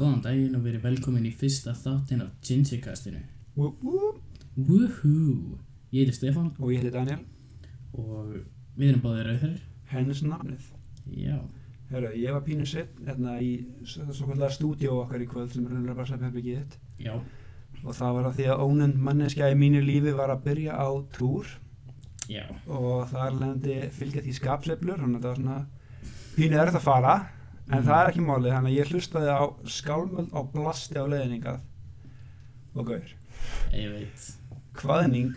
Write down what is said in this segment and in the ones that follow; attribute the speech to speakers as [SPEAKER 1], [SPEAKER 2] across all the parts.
[SPEAKER 1] Góðan daginn og verið velkomin í fyrsta þáttinn af Gingercastinu.
[SPEAKER 2] Whoop, whoop.
[SPEAKER 1] Woohoo! Ég heiti Stefán
[SPEAKER 2] Og ég heiti Daniel,
[SPEAKER 1] og við erum báðir auðvitað.
[SPEAKER 2] hennes nafnið.
[SPEAKER 1] Já,
[SPEAKER 2] Herra, ég var pínu sitt hérna í svokallega stúdíó okkar í kvöld sem er raunlega bara sleppherbyggið þitt.
[SPEAKER 1] já,
[SPEAKER 2] Og það var að því að ónend manneskja í mínu lífi var að byrja á túr
[SPEAKER 1] já,
[SPEAKER 2] og þar lendi fylgja því skapsleiflur, þannig að það var svona pínu erð að fara. En
[SPEAKER 1] Mhm.
[SPEAKER 2] það er ekki málið, þannig að ég hlustaði á skálmöld á blasti á leiðningað. Og gaur,
[SPEAKER 1] ég veit.
[SPEAKER 2] hvaðning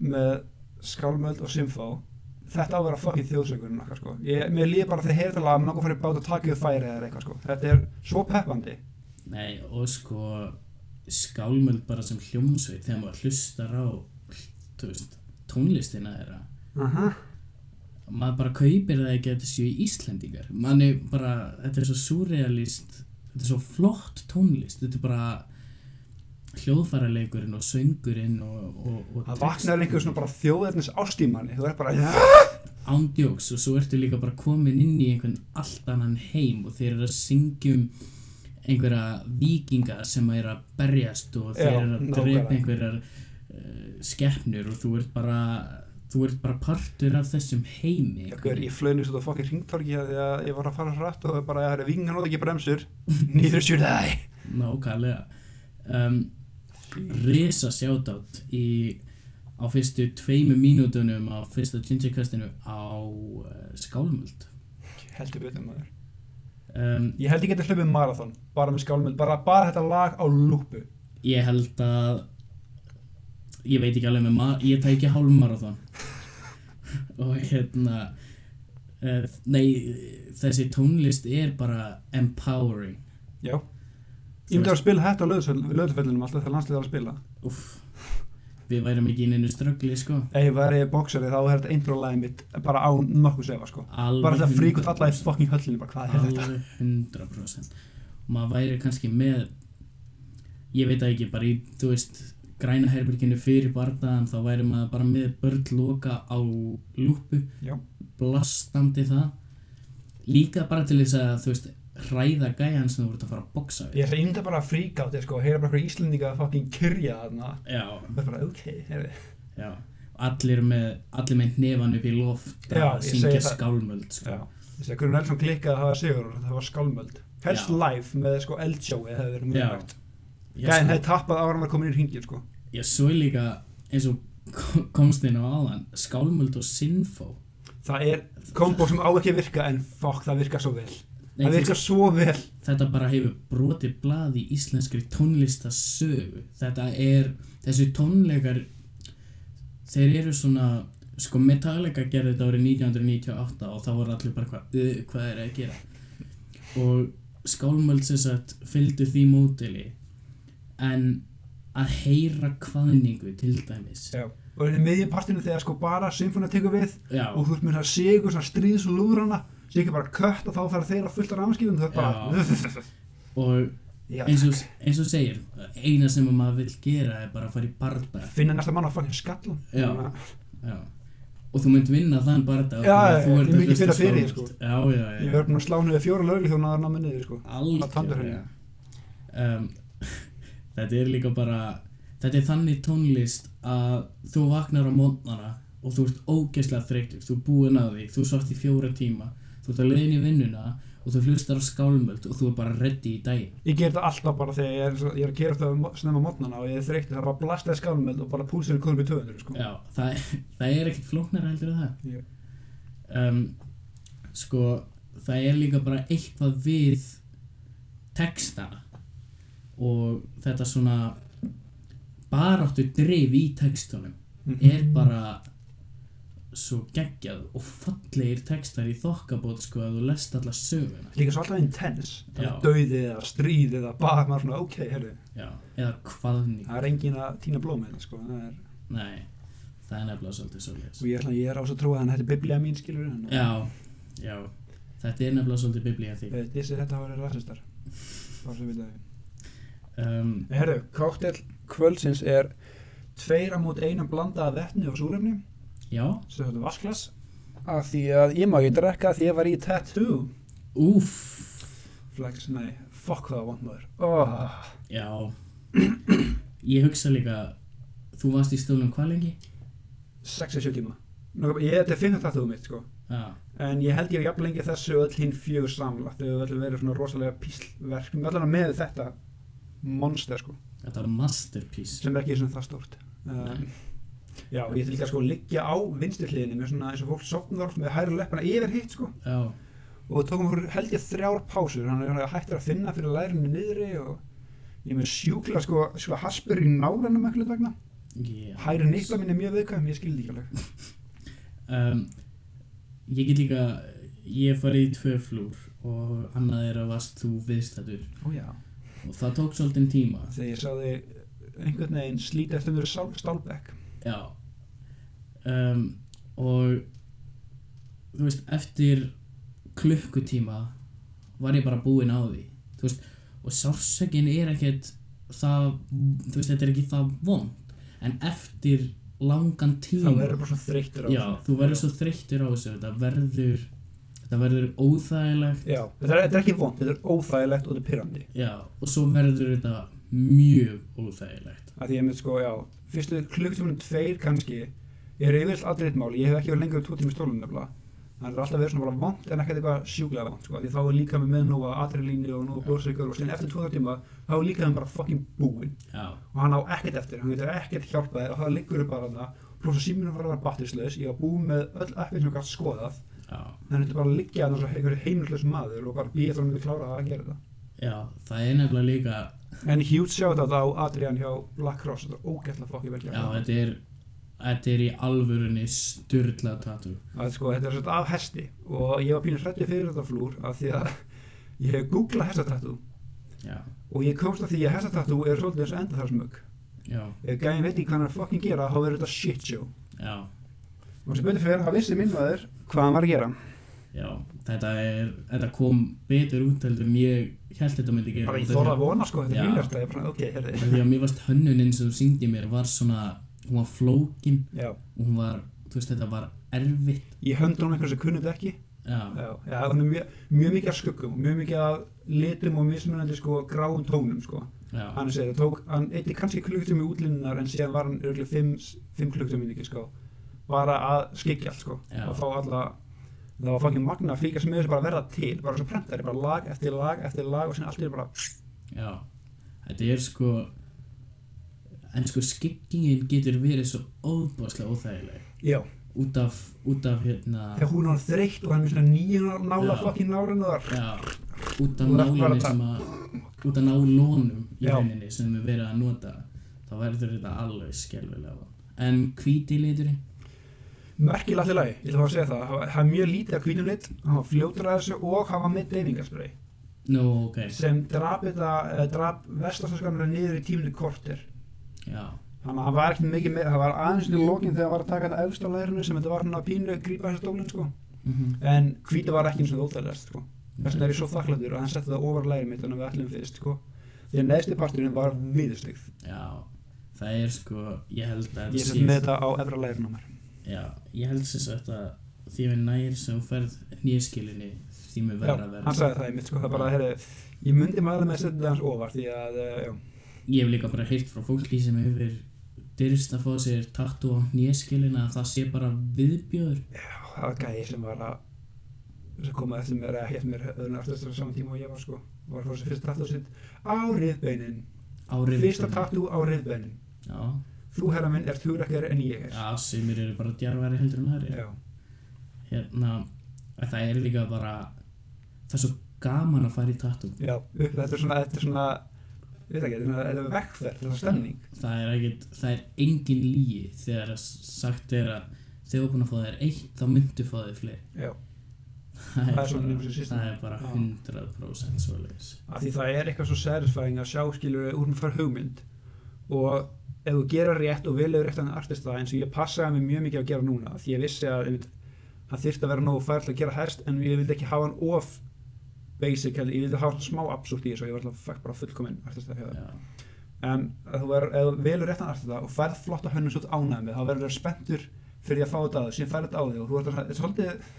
[SPEAKER 2] með skálmöld og symfó þetta á að vera fucking þjóðsökurinn okkar sko ég, mér líður bara þegar heyrða lag með nokkuð fyrir bát að taka yfir færi eða eitthvað sko þetta er svo peppandi
[SPEAKER 1] Nei, og sko skálmöld bara sem hljómsveit þegar maður hlustar á, þú veist, tónlistina þeirra.
[SPEAKER 2] aha,
[SPEAKER 1] Maður bara kaupir það ekki að þetta séu Íslendingar. Manni bara, þetta er svo surrealist, þetta er svo flott tónlist, þetta er bara hljóðfæraleikurinn og söngurinn og, og, og
[SPEAKER 2] það vaknar einhver svona bara þjóðernis ástímanni þú er bara
[SPEAKER 1] ándjóks og svo ertu líka bara komin inn í einhvern allt annan heim og þeir eru að syngja um einhverja vikinga sem eru að berjast og þeir
[SPEAKER 2] Já,
[SPEAKER 1] eru að
[SPEAKER 2] nákvæmlega.
[SPEAKER 1] drepa einhverjar uh, skeppnur og þú ert bara þú ert bara partur af þessum heimi
[SPEAKER 2] Ekkur, ég flöðnist út á fucking ringtorki því að ég var að fara hratt og bara það er vingan og ekki bremsur nýður sér það
[SPEAKER 1] nákvæmlega um, risa sjátátt í á fyrstu tveimu mínútunum á fyrsta gingerkastinu á uh, skálmöld
[SPEAKER 2] heldur betur maður
[SPEAKER 1] um,
[SPEAKER 2] ég held ég geti hlupið marathon bara með skálmöld bara, bara þetta lag á lúpu
[SPEAKER 1] Ég held að Ég veit ekki alveg með maður Ég tæki hálfmarathon Og hérna uh, Nei, þessi tónlist er bara empowering
[SPEAKER 2] já ég myndi að spila þetta á löðfellinum alltaf þegar landslið er að spila
[SPEAKER 1] Úff Við værum ekki í neinu ströggli, sko
[SPEAKER 2] Ef ég væri boksari þá er þetta intro-læði mitt bara á nokkuð sefa sko.
[SPEAKER 1] Alveg
[SPEAKER 2] Bara þetta frík út
[SPEAKER 1] 100%.
[SPEAKER 2] alla í fucking höllinu, bara hvað er þetta?
[SPEAKER 1] Alveg 100% og maður væri kannski með ég veit það ekki, bara í, þú veist græna herbyrginu fyrir bardaðan þá væri maður bara með börnloka á lúpu,
[SPEAKER 2] Já.
[SPEAKER 1] blastandi það líka bara til þess að, þú veist hræða gæjan sem þú voru að fara að boksa við
[SPEAKER 2] Ég ætla einnig bara að frík át þér sko, heyra bara eitthvað íslendinga að fucking kyrja þarna.
[SPEAKER 1] já,
[SPEAKER 2] Það er bara ok, heyrðu.
[SPEAKER 1] já allir með, allir með hnefan upp í loft
[SPEAKER 2] Já,
[SPEAKER 1] að
[SPEAKER 2] ég
[SPEAKER 1] syngja
[SPEAKER 2] segi það.
[SPEAKER 1] skálmöld sko.
[SPEAKER 2] Já. Þessi að Gunnar Nelson klikkað að hafa sigur og það var skálmöld. Helst
[SPEAKER 1] Já.
[SPEAKER 2] live með sko eldsjói hefði verið
[SPEAKER 1] Já.
[SPEAKER 2] mjög hægt.
[SPEAKER 1] Já,
[SPEAKER 2] Gæðin
[SPEAKER 1] sko.
[SPEAKER 2] hefði tappað ára maður komin í hringin sko.
[SPEAKER 1] Já, svo er líka eins og kom- komst inn á aðan skálmöld og sinfó
[SPEAKER 2] Það er kombo sem á ekki að virka en fuck það virkar svo vel.
[SPEAKER 1] Nei,
[SPEAKER 2] það
[SPEAKER 1] þú
[SPEAKER 2] virkar svo vel.
[SPEAKER 1] þetta bara hefur brotið blað í íslenskri tónlistasögu þetta er, þessi tónleikar þeir eru svona sko Metallica gerði þetta árið 1998 og þá voru allir bara hvað uh, hvað er að gera og skálmöld sem sagt fylgdu því mótili en að heyra kvaðningu til dæmis
[SPEAKER 2] Já. Og í miðjupartinu þegar sko bara symfóna tekur við
[SPEAKER 1] já,
[SPEAKER 2] og þú ert með það sigur, svona stríðs og lúðrana sé ekki bara kött og þá fara þeirra fullt af rafmaskýfum það er bara
[SPEAKER 1] og
[SPEAKER 2] Já,
[SPEAKER 1] eins og, eins og segir eina sem að maður vil gera er bara að fara í barda
[SPEAKER 2] finna næsta mann á fucking skallan
[SPEAKER 1] Já. Já. Og þú mynd vinna þann barða þannig
[SPEAKER 2] Já,
[SPEAKER 1] að þú
[SPEAKER 2] já,
[SPEAKER 1] ert
[SPEAKER 2] ég
[SPEAKER 1] að
[SPEAKER 2] mikið
[SPEAKER 1] hlusta
[SPEAKER 2] finna fyrir því, sko.
[SPEAKER 1] skálmöld. Já, já, já
[SPEAKER 2] ég verður búin að slá niður fjóra lögli þjóna að námið niður sko á
[SPEAKER 1] Algjörlega
[SPEAKER 2] tandurhreinu.
[SPEAKER 1] um, Þetta er líka bara Þetta er þannig tónlist að þú vaknar á mótnana og þú ert ógeðslega þreytur þú er búinn að því, þú svart í fjóra tíma þú ert að leiðin í vinnuna og þú hlustar á skálmöld og þú er bara ready í daginn
[SPEAKER 2] ég ger þetta alltaf bara þegar ég er, svo- ég er að gera þetta um snemma mótnana og ég er þreytt það er bara blastaði skálmöld og bara púlsinn er komið í 200 sko
[SPEAKER 1] Já, það, það er ekkert flóknara heldur en það
[SPEAKER 2] Já.
[SPEAKER 1] um, Sko, það er líka bara eitthvað við textana og þetta svona baráttu dreif í textunum er
[SPEAKER 2] Mhm.
[SPEAKER 1] bara svo geggjað og fallegir textar í þokkabót sko að þú lest alla söguna
[SPEAKER 2] líka svo alltaf intense það
[SPEAKER 1] Já.
[SPEAKER 2] er dauðið eða stríðið eða bara maður svona ok, herri
[SPEAKER 1] Já, eða hvaðning
[SPEAKER 2] það er engin að týna blóm hérna sko það er,
[SPEAKER 1] Nei, það er nefnilega svolítið svolítið
[SPEAKER 2] og ég, ætla, ég er ás að trúa þannig að þetta er biblía mín skilur en
[SPEAKER 1] Já, já, þetta er nefnilega svolítið biblía því
[SPEAKER 2] þessi þetta hafa verið rasistar bara sem við það
[SPEAKER 1] um,
[SPEAKER 2] Herru, káttel kvöldsins er tveir á mót einum blanda af vetni og súrefni
[SPEAKER 1] Já,
[SPEAKER 2] sem þetta vasklas að því að ég má ekki drekka því ég var í tattoo
[SPEAKER 1] Úff,
[SPEAKER 2] flex, nei, Fuck það vant maður oh.
[SPEAKER 1] Já Ég hugsa líka Þú varst í stólum hvað lengi?
[SPEAKER 2] 6-7 tíma Nú, ég, Þetta er 5 þáttuðu mitt sko
[SPEAKER 1] Já,
[SPEAKER 2] En ég held ég jafn lengi þessu öll hinn fjögur samla Þegar öll verið svona rosalega píslverk Allan með þetta monster sko
[SPEAKER 1] þetta var masterpiece
[SPEAKER 2] sem er ekki svona það stórt um,
[SPEAKER 1] Nei.
[SPEAKER 2] já, og ég ætla líka sko að liggja á vinstri hliðinni með svona eins og fólk sopnar með hægri leppana yfir hitt sko
[SPEAKER 1] Já,
[SPEAKER 2] og við tókum okkur held ég þrjár pásur hann er hættur að finna fyrir lærinu niðri og ég er með sjúkla sko, sko haspur í nálanum ekkert vegna
[SPEAKER 1] já
[SPEAKER 2] hægri nýtla mín er mjög viðkvæm, ég skildi ekki alveg
[SPEAKER 1] um, Ég get líka Ég hef farið í tvö flúr Og annað er að varst þú viðstættur
[SPEAKER 2] ó já,
[SPEAKER 1] Og það tók svolítið tíma
[SPEAKER 2] þegar ég sá þig einhvern veginn slíti eftir mér sál, stálbekk
[SPEAKER 1] Já um, Og Þú veist, eftir klukkutíma Var ég bara búinn á því Þú veist, og sársökin er ekkert Það, þú veist, þetta er ekki það vond En eftir langan
[SPEAKER 2] þá
[SPEAKER 1] tíma
[SPEAKER 2] verður bara svona þreyttur á
[SPEAKER 1] Já,
[SPEAKER 2] þessu.
[SPEAKER 1] þú verður svo þreyttur á þessu Þetta verður Þetta verður óþægilegt
[SPEAKER 2] já, þetta er, þetta er ekki vond, þetta er óþægilegt og þetta er pyrrandi
[SPEAKER 1] Já, og svo verður þetta mjög óþægilegt
[SPEAKER 2] að því ég með sko, já, fyrstu klukktímanum tveir kannski, ég er yfirleitt aldrei eitt mál, ég hef ekki verið lengur en tvo tími stólum nefnilega þannig að það er alltaf verið svona bara vant en ekkert eitthvað sjúklega vant, sko, því þá er líka með með nóga adrenalínu og nóga blóðsreikur og síðan eftir tvo þrjá tíma, þá er líka með bara fucking búinn
[SPEAKER 1] Já,
[SPEAKER 2] og hann á ekkert eftir, hann getur ekkert hjálpað þér og það liggur þér bara þarna, pluss að síminu var að vera batterislaus, ég var búinn með öll appin sem ég gætt skoðað,
[SPEAKER 1] já,
[SPEAKER 2] þannig að þetta bara liggja þarna eins og einhver heimilislaus maður og bara bíða eftir að hann myndi klára að gera þetta.
[SPEAKER 1] já Það er nefnilega líka
[SPEAKER 2] En huge shoutout á Adrian hjá Black Cross, þetta er ógeðslega fucking vel gert.
[SPEAKER 1] Já, þetta er Þetta er í alvörunni styrla tatu
[SPEAKER 2] að sko, þetta er svolítið af hesti og ég var pínur hrættu fyrir þetta flúr af því að ég hef googlað hestatattu
[SPEAKER 1] Já,
[SPEAKER 2] og ég komst að því að hestatattu er svolítið eins og enda þar smög
[SPEAKER 1] já,
[SPEAKER 2] ef gæðin veit ekki hvað hann er að fucking gera þá verður þetta shit show
[SPEAKER 1] já,
[SPEAKER 2] og sem betur fyrir hann vissi minn maður hvað hann var að gera
[SPEAKER 1] já Þetta er, þetta kom betur út heldur en ég held þetta myndi gera
[SPEAKER 2] bara ég
[SPEAKER 1] Út af því
[SPEAKER 2] þorði
[SPEAKER 1] að-
[SPEAKER 2] að vona sko, þetta
[SPEAKER 1] Já.
[SPEAKER 2] er mínast ég bara svona, ok,
[SPEAKER 1] af
[SPEAKER 2] herði
[SPEAKER 1] Því að mér varst hönnunin sem þú syngdi mér var svona Hún var flókin
[SPEAKER 2] já.
[SPEAKER 1] og hún var, þú veist, þetta var erfitt
[SPEAKER 2] ég höndi hann einhvern sem kunni þetta ekki
[SPEAKER 1] Já,
[SPEAKER 2] já, já, hann er mjög, mjög mikið að skuggum mjög mikið að litum og mismunandi sko, gráum tónum sko.
[SPEAKER 1] já,
[SPEAKER 2] hann segir, það tók, hann eitti kannski klukkutum í útlínunar en síðan var hann örgulega fimm, fimm klukkutum í ekki, sko bara að skikja allt, sko
[SPEAKER 1] Já.
[SPEAKER 2] og fá alla, það var fangin magna að fíkast með þessu bara að verða til, bara svo prentari bara lag eftir lag eftir lag og síðan allt er bara
[SPEAKER 1] já Þetta er sko En sko skikkingin getur verið svo óbáslega óþægileg
[SPEAKER 2] já,
[SPEAKER 1] Út af, út af hérna
[SPEAKER 2] þegar hún er þreytt og hann er með svona nýja nála
[SPEAKER 1] Já.
[SPEAKER 2] fokkin nálinni þar
[SPEAKER 1] Já, út af
[SPEAKER 2] Þú ert bara
[SPEAKER 1] nálinni
[SPEAKER 2] að ta-
[SPEAKER 1] sem að út af nálónum í
[SPEAKER 2] Já.
[SPEAKER 1] rauninni sem við verið að nota þá verður þetta alveg skelvilega en hvíti liturinn
[SPEAKER 2] merkilega allir lagi, ég ætla að fá að segja það það var- það er mjög lítið að hvítum lit, hann var fljótur að þessu og hann var með deyfingarspray
[SPEAKER 1] Nú, ok,
[SPEAKER 2] sem drap þetta, eh, drap vestastaskanur niður í tíminu kortir
[SPEAKER 1] já,
[SPEAKER 2] Þannig að það var ekkert mikið með, það var aðeins í lokin þegar það var að taka þetta efst á lærinu sem þetta var hann að pínu að grípa þessi stólinn sko.
[SPEAKER 1] mhm,
[SPEAKER 2] En hvíta var ekki eins og það óþægilegast sko. Þess vegna er ég svo þakklæður að hann setti það ofar lærið mitt þannig að við ætlum fyrst sko. Því að neðstu parturinn var viðstigð.
[SPEAKER 1] já það er sko, ég held að
[SPEAKER 2] Ég
[SPEAKER 1] þetta
[SPEAKER 2] sett með þetta á efra lærinu á mér.
[SPEAKER 1] já, ég held sér sagt að því við nær sem þú ferð nýskilinni því með
[SPEAKER 2] Já,
[SPEAKER 1] verða
[SPEAKER 2] hann
[SPEAKER 1] verða
[SPEAKER 2] sagði það í mitt sko. Það bara, herri, ég myndi maður með að setja þetta hans ofar því að, eh, já,
[SPEAKER 1] ég hef líka bara heyrt frá fólki sem hefur dyrst að fá sér tattu á nýskilina að það sé bara viðbjöður
[SPEAKER 2] já, það var gæði sem var að sem kom að eftir mér, ekki eftir mér, öðrun aftur saman tíma og ég var sko, var að fá þessi fyrsta tattoo sitt á riðbeinin,
[SPEAKER 1] árið
[SPEAKER 2] fyrsta tattoo á riðbeinin.
[SPEAKER 1] já,
[SPEAKER 2] Þú herra minn ert hugrekkar en ég er
[SPEAKER 1] Já, sumir eru bara djarfæri heldur en aðrir
[SPEAKER 2] Já,
[SPEAKER 1] Hérna, að það er líka bara Það er svo gaman að fara í tattoo
[SPEAKER 2] já. upp- Þetta er svona, þetta er svona Við það ekki, þetta er svona- þetta er vekkferð, þetta er stemning
[SPEAKER 1] Það er ekkert, það er engin lígi Þegar að sagt er að Þegar þú er búin að fá þér eitt, þá myndu fá þér fleiri
[SPEAKER 2] Já,
[SPEAKER 1] Það
[SPEAKER 2] er svona
[SPEAKER 1] bara-
[SPEAKER 2] eins og system.
[SPEAKER 1] Það er bara
[SPEAKER 2] Já.
[SPEAKER 1] 100% svoleiðis
[SPEAKER 2] af því það er eitthvað svo satisfying að sjá skilur úr með fara hugmynd og ef þú gerir rétt og velur rétt að artist það eins og ég passaði mig mjög mikið að gera núna af því ég vissi að einmitt, hann þyrfti að vera nógu færð til að gera hest en ég vildi ekki hafa hann of basic, heldur, ég vildi hafa hann smá absúrt í þessu og ég var alltaf fæk bara fullkominn artist það hjá það
[SPEAKER 1] Já,
[SPEAKER 2] en að þú verður, ef þú velur réttan artista og færð flotta hönnum svo ánæmi þá verður þú spenntur fyrir því að fá þetta á þig síðan færð þetta á þig og þú ert að, svolítið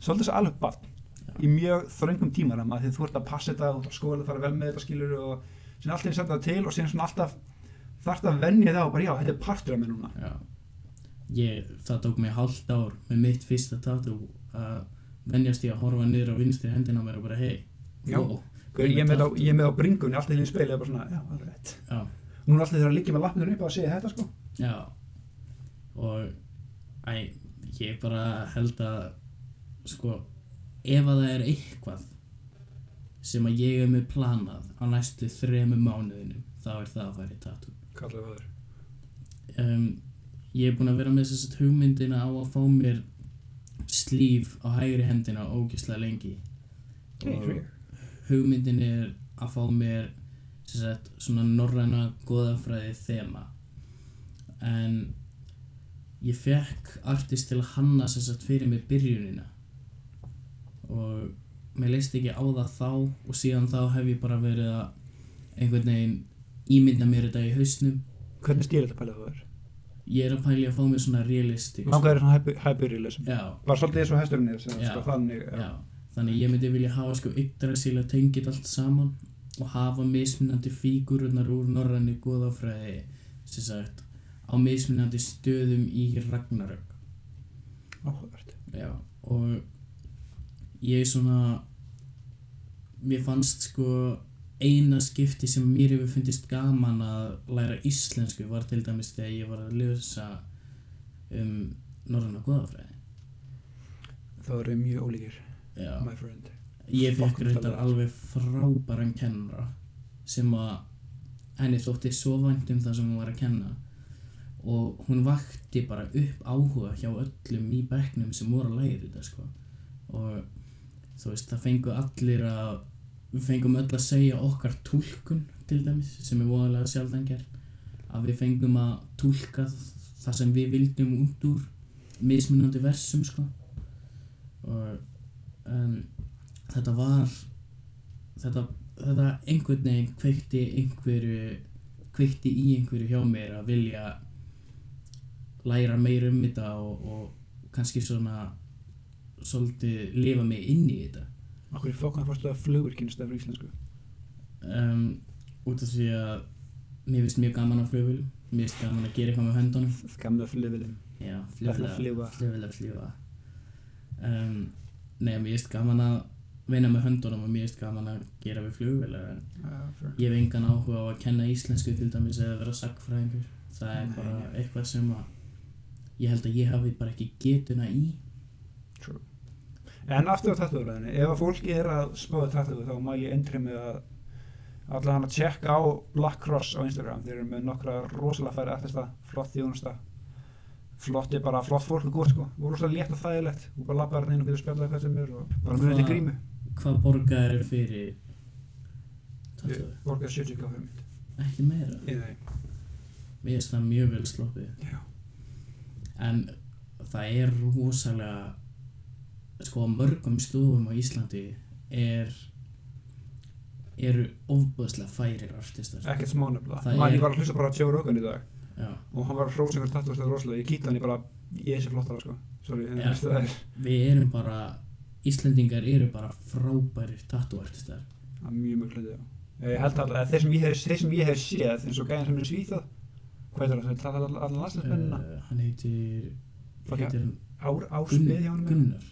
[SPEAKER 2] svolítið svo alveg barn í mjög þröngum tímaram að þið þú ert að passa þetta og skóla fara vel með þetta skilur og síðan alltaf setja það til og síðan svona alltaf þarf það að venja það og bara já, þetta er partur af mér núna
[SPEAKER 1] Já. Ég, það tók mig hálft ár með mitt fyrsta tatu að venjast ég að horfa niður á vinstri hendina á mér og bara hei.
[SPEAKER 2] Já.
[SPEAKER 1] wow.
[SPEAKER 2] ég er með, á- ég er með á bringunni alltaf í spil bara svona, já, alveg rétt
[SPEAKER 1] Já,
[SPEAKER 2] núna alltaf þegar að liggja með lappinur upp að segja þetta sko
[SPEAKER 1] já. Og æ, ég bara held að sko, ef að það er eitthvað sem að ég er með planað á næstu þremu mánuðinu þá er það að fara í tatu.
[SPEAKER 2] kallar það þurr
[SPEAKER 1] um, ég er búinn að vera með þessast hugmyndina á að fá mér slíf á hægri hendina ógislega lengi og hugmyndin er að fá mér sem sagt, svona norræna goðafræði þema en ég fekk artist til að hanna sem sagt, fyrir mig byrjunina og mér leist ekki á það þá og síðan þá hef ég bara verið að einhvern veginn ímynda mér þetta í hausnum
[SPEAKER 2] hvernig stýr þetta pælið það þurr?
[SPEAKER 1] Ég er að pæli að fá mér svona realistik
[SPEAKER 2] langaður svona hyperrealism
[SPEAKER 1] já,
[SPEAKER 2] var svolítið eins og hesturinn er
[SPEAKER 1] Já.
[SPEAKER 2] sko, þannig
[SPEAKER 1] já, þannig ég myndi vilja hafa sko yggdrasil að tengja þetta allt saman og hafa mismunandi fígurunar úr norræni góðafræði sem sagt á mismunandi stöðum í Ragnarök
[SPEAKER 2] áhugavert
[SPEAKER 1] Já, og ég svona mér fannst sko eina skipti sem mér hefur fundist gaman að læra íslensku var til dæmis þegar ég var að lesa um norræna góðafræði
[SPEAKER 2] það eru mjög ólíkir
[SPEAKER 1] Já,
[SPEAKER 2] my friend
[SPEAKER 1] ég fekk
[SPEAKER 2] fucking
[SPEAKER 1] reyndar
[SPEAKER 2] talent.
[SPEAKER 1] alveg frábæran kennara sem að henni þótti svo vænt um það sem hún var að kenna og hún vakti bara upp áhuga hjá öllum í bekknum sem voru að læra þetta sko og þú veist það fengu allir að við fengum öll að segja okkar túlkun til dæmis sem er voðalega sjaldan gert að við fengum að túlka það sem við vildum út úr mismunandi versum sko og en þetta var þetta, þetta einhvern veginn kveikti einhverju kveikti í einhverju hjá mér að vilja læra meira um þetta og, og kannski svona svolítið lifa mig inn í þetta
[SPEAKER 2] okkur í fókan fórstu að flugur kynst af íslensku
[SPEAKER 1] um, út af því að mér finnst mjög gaman á flugvölu mér finnst gaman að gera eitthvað með höndunum
[SPEAKER 2] gamla fluvilin
[SPEAKER 1] já,
[SPEAKER 2] Flugvélar fljúga.
[SPEAKER 1] flugvöla fljúa um, nei, mér finnst gaman að vinna með höndunum og mér finnst gaman að gera við flugvöla en Ég hef engan áhuga á að kenna íslensku til dæmis eða vera sagfræðingur. Það er
[SPEAKER 2] Nei,
[SPEAKER 1] bara
[SPEAKER 2] nei.
[SPEAKER 1] eitthvað sem að ég held að ég hafi bara ekki getuna í.
[SPEAKER 2] En aftur á tattúröðinni, ef að fólki er að spáða tattúröðu þá má ég endri með að allan að tjekka á Black Cross á Instagram, þeir eru með nokkra rosalega færi artista, flott þjónusta flotti bara, flott fólk og góð sko, og rosalega létt og þægilegt og bara labba hérna inn og getur spjallað hvað sem er og bara með þetta
[SPEAKER 1] Hvað-
[SPEAKER 2] grímu,
[SPEAKER 1] Hvað borgar er fyrir
[SPEAKER 2] ég
[SPEAKER 1] tattuðu?
[SPEAKER 2] borgaði 70 káfið mitt
[SPEAKER 1] Ekki meira.
[SPEAKER 2] í þeim,
[SPEAKER 1] Mér finnst það mjög vel sloppið.
[SPEAKER 2] já,
[SPEAKER 1] En það er rosalega, sko á mörgum stofum á Íslandi er, eru ofbúðslega færir artistar.
[SPEAKER 2] ekkert smá nefnilega
[SPEAKER 1] Það
[SPEAKER 2] Man,
[SPEAKER 1] er-
[SPEAKER 2] ég var að hlusta bara á Joe Rogan í dag
[SPEAKER 1] Já.
[SPEAKER 2] og hann var að hrósa einhver tattúröðu rosalega, ég kýta hann, ég bara ég er sér flottara sko, sorry, en
[SPEAKER 1] Já.
[SPEAKER 2] veistu það er
[SPEAKER 1] Við erum bara, Íslendingar eru bara frábærir tattúartistar.
[SPEAKER 2] Það er mjög mjög hluti, já. Eh, Ég held alltaf að þeir sem ég hef, þeir sem ég hef séð, eins og gæðin sem er í Svíþjóð, hvað heitir það, sem er tatt allan landslæsmennina,
[SPEAKER 1] Uh, hann heitir,
[SPEAKER 2] Fuck,
[SPEAKER 1] heitir hann
[SPEAKER 2] ár, ársmið hjá
[SPEAKER 1] Gunn,
[SPEAKER 2] hann,
[SPEAKER 1] Gunnar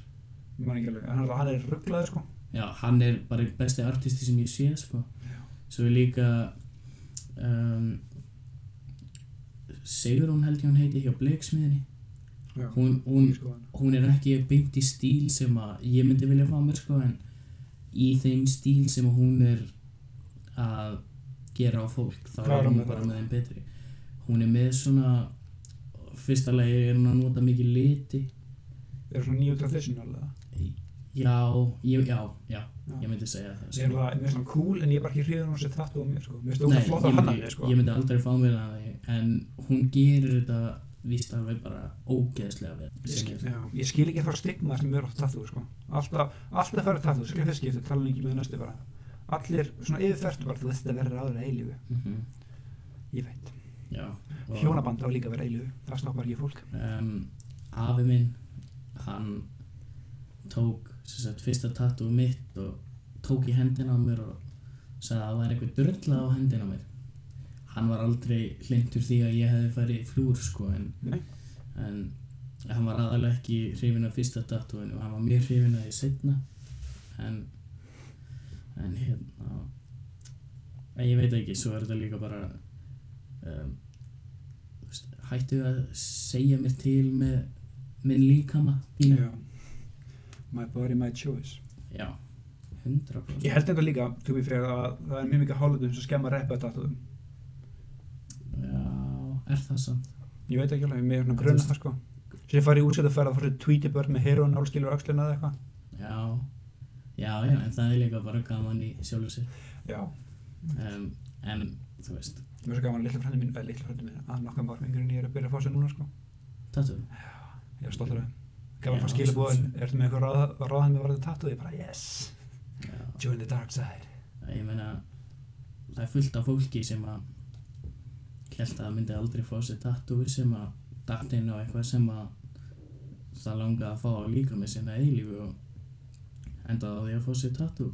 [SPEAKER 2] mann ekki alveg, hann, hann er rugglaður sko.
[SPEAKER 1] Já, hann er bara einn besti artisti sem ég sé sko. Svo er líka um, Sigurún held ég hún heiti hjá Bleiksmiðinni
[SPEAKER 2] Já,
[SPEAKER 1] hún, hún,
[SPEAKER 2] ég sko hann.
[SPEAKER 1] hún er ekki beint í stíl sem að ég myndi vilja fá mér sko, en í þeim stíl sem að hún er að gera á fólk þá
[SPEAKER 2] Hvað er
[SPEAKER 1] er
[SPEAKER 2] hún
[SPEAKER 1] hún
[SPEAKER 2] með
[SPEAKER 1] bara
[SPEAKER 2] það?
[SPEAKER 1] með þeim betri hún er með svona fyrsta lagi er hún að nota mikið liti
[SPEAKER 2] Er svona nýju tradition alveg.
[SPEAKER 1] Já, ég, já, já,
[SPEAKER 2] Já.
[SPEAKER 1] ég myndi segja það sko.
[SPEAKER 2] Ég er bara, mér finnst hann cool, en ég er bara ekki hrifin hún sér tatt á mér sko. Mér finnst það
[SPEAKER 1] Nei,
[SPEAKER 2] flott á
[SPEAKER 1] ég
[SPEAKER 2] hann
[SPEAKER 1] myndi,
[SPEAKER 2] hann, sko.
[SPEAKER 1] ég myndi aldrei fá mér að því En hún gerir þetta víst alveg bara ógeðslega vel
[SPEAKER 2] Ég
[SPEAKER 1] sem
[SPEAKER 2] skil,
[SPEAKER 1] ég-
[SPEAKER 2] já, ég skil ekki það stigma sem er á tattoo sko. alltaf, alltaf fara tattoo skil fyrst skipti, tala ekki með næstu bara allir, svona yfirferðt bara, þú veist að vera aðra eilífu,
[SPEAKER 1] Mhm,
[SPEAKER 2] ég veit
[SPEAKER 1] Já og,
[SPEAKER 2] hjónaband á líka að vera eilífu, það stoppar ekki fólk
[SPEAKER 1] um, Afi minn, hann tók sem sagt, fyrsta tattoo mitt og tók í hendina á mér og sagði að það væri eitthvað drulla á hendina á mér hann var aldrei hlindur því að ég hefði farið í flúr sko en,
[SPEAKER 2] Nei.
[SPEAKER 1] en hann var aðalega ekki hrifin af fyrsta tattooinu og hann var mjög hrifin af því setna en en hérna en ég veit ekki, svo er þetta líka bara um, þú veist, hættu að segja mér til með minn líkama þínu.
[SPEAKER 2] Já. My body, my choice
[SPEAKER 1] já, 100%
[SPEAKER 2] Ég held þetta líka, to be fair, að það er mjög mikið hálfleitum sem skemma reppa tattúðum
[SPEAKER 1] já, er það samt
[SPEAKER 2] Ég veit ekki alveg, mér er svona
[SPEAKER 1] Þetta
[SPEAKER 2] grunna
[SPEAKER 1] er-
[SPEAKER 2] það sko Sér farið í útsættuferð að fara tweeti börn með heroin álskilur öxlina eða eitthvað
[SPEAKER 1] já, já, já, en það er líka bara gaman í sjálfu sér
[SPEAKER 2] Já,
[SPEAKER 1] um, en þú veist,
[SPEAKER 2] mér er svo gaman að litla frændi mín, eða litla frændi mín að nokkam árum yngri en ég er að byrja að fá sér núna sko
[SPEAKER 1] tattoo
[SPEAKER 2] Ég er stoltur af þeim Gaman að fá
[SPEAKER 1] Já,
[SPEAKER 2] skila búin,
[SPEAKER 1] sem-
[SPEAKER 2] ertu með eitthvað ráð- ráðan með varðið tattúð? Ég bara yes,
[SPEAKER 1] já,
[SPEAKER 2] join the dark side
[SPEAKER 1] ég meina það er fullt af fólki sem að held að það myndi aldrei fá sér tattoo sem að datt inn á eitthvað sem að það langaði að fá að líka með sinna eilífu og endaði á því að fá sér tattoo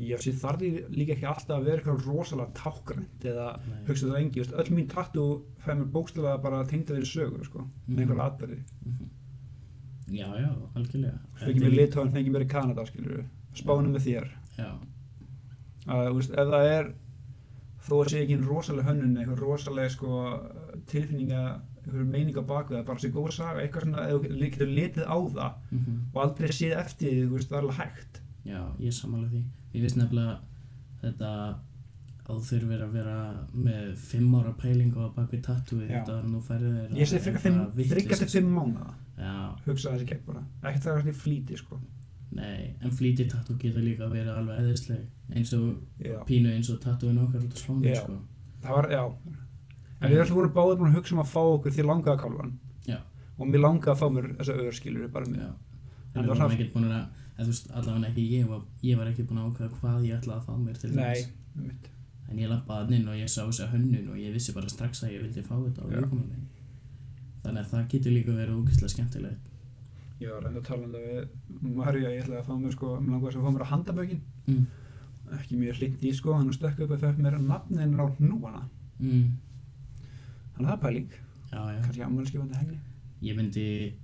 [SPEAKER 2] Já, sér þarf því líka ekki alltaf að vera eitthvað rosalega tákgrænt eða
[SPEAKER 1] Nei.
[SPEAKER 2] hugsa þetta engi, veist, öll mín tattú fæði mér bókstælega bara tengda þeirri sögur, sko,
[SPEAKER 1] Mhm.
[SPEAKER 2] með einhverja atbyrði.
[SPEAKER 1] já, já, algjörlega
[SPEAKER 2] Fengi mér í Litáin, fengi mér í Kanada, skilur við, spána með þér.
[SPEAKER 1] já,
[SPEAKER 2] Að, þú veist, ef það er, þó að sé ekki einn rosalega hönnun, einhver rosalega, sko, tilfinninga, einhver meininga bak við það, bara sé góð saga, eitthvað svona, ef þú getur litið á það
[SPEAKER 1] mhm
[SPEAKER 2] og aldrei séð eftir því, þú veist, það er alveg hægt.
[SPEAKER 1] Já, ég er samanlega því. Ég veist nefnilega þetta að þú þurfir að vera með fimm ára pælingu á bak við tattúi
[SPEAKER 2] Já.
[SPEAKER 1] þetta var nú færið þér
[SPEAKER 2] Ég sé frekar fimm, þryggja til fimm mánuða,
[SPEAKER 1] Já,
[SPEAKER 2] hugsa þessi gegn bara, ekkert það er alltaf flíti, sko.
[SPEAKER 1] nei, en flýti tattú getur líka að vera alveg eðisleg eins og
[SPEAKER 2] Já.
[SPEAKER 1] pínu eins og tattúin okkar út á slóni,
[SPEAKER 2] Já.
[SPEAKER 1] sko.
[SPEAKER 2] Það var, já En við ætlum voru báðir búin að hugsa um að fá okkur því langaða kálvan
[SPEAKER 1] Já.
[SPEAKER 2] Og mér langaði að fá mér þessa öðurskilur bara um- mér
[SPEAKER 1] Já.
[SPEAKER 2] En
[SPEAKER 1] En
[SPEAKER 2] það
[SPEAKER 1] við
[SPEAKER 2] var
[SPEAKER 1] varum
[SPEAKER 2] svona-
[SPEAKER 1] ekkert búin að, eða þú veist, allavega ekki ég var, ég var ekki búin að ákveða hvað ég ætlaði að fá mér til
[SPEAKER 2] Nei,
[SPEAKER 1] þess.
[SPEAKER 2] mitt
[SPEAKER 1] En ég lappaði hann inn og ég sá þessa hönnun og ég vissi bara strax að ég vildi fá þetta á
[SPEAKER 2] Já.
[SPEAKER 1] líkominni. Þannig að það getur líka verið ógeðslega skemmtilegt.
[SPEAKER 2] Ég var enda talandi við Marja, ég ætlaði að fá mér sko Mér langaði þess að fá mér að handabökin
[SPEAKER 1] Mm.
[SPEAKER 2] Ekki mjög hlind í sko, hann stökk upp að fekk mér nafnin á hnúana
[SPEAKER 1] Mm,
[SPEAKER 2] Þannig að það er pæling,
[SPEAKER 1] já, já.
[SPEAKER 2] kannski ammælskifandi henni
[SPEAKER 1] Ég myndi,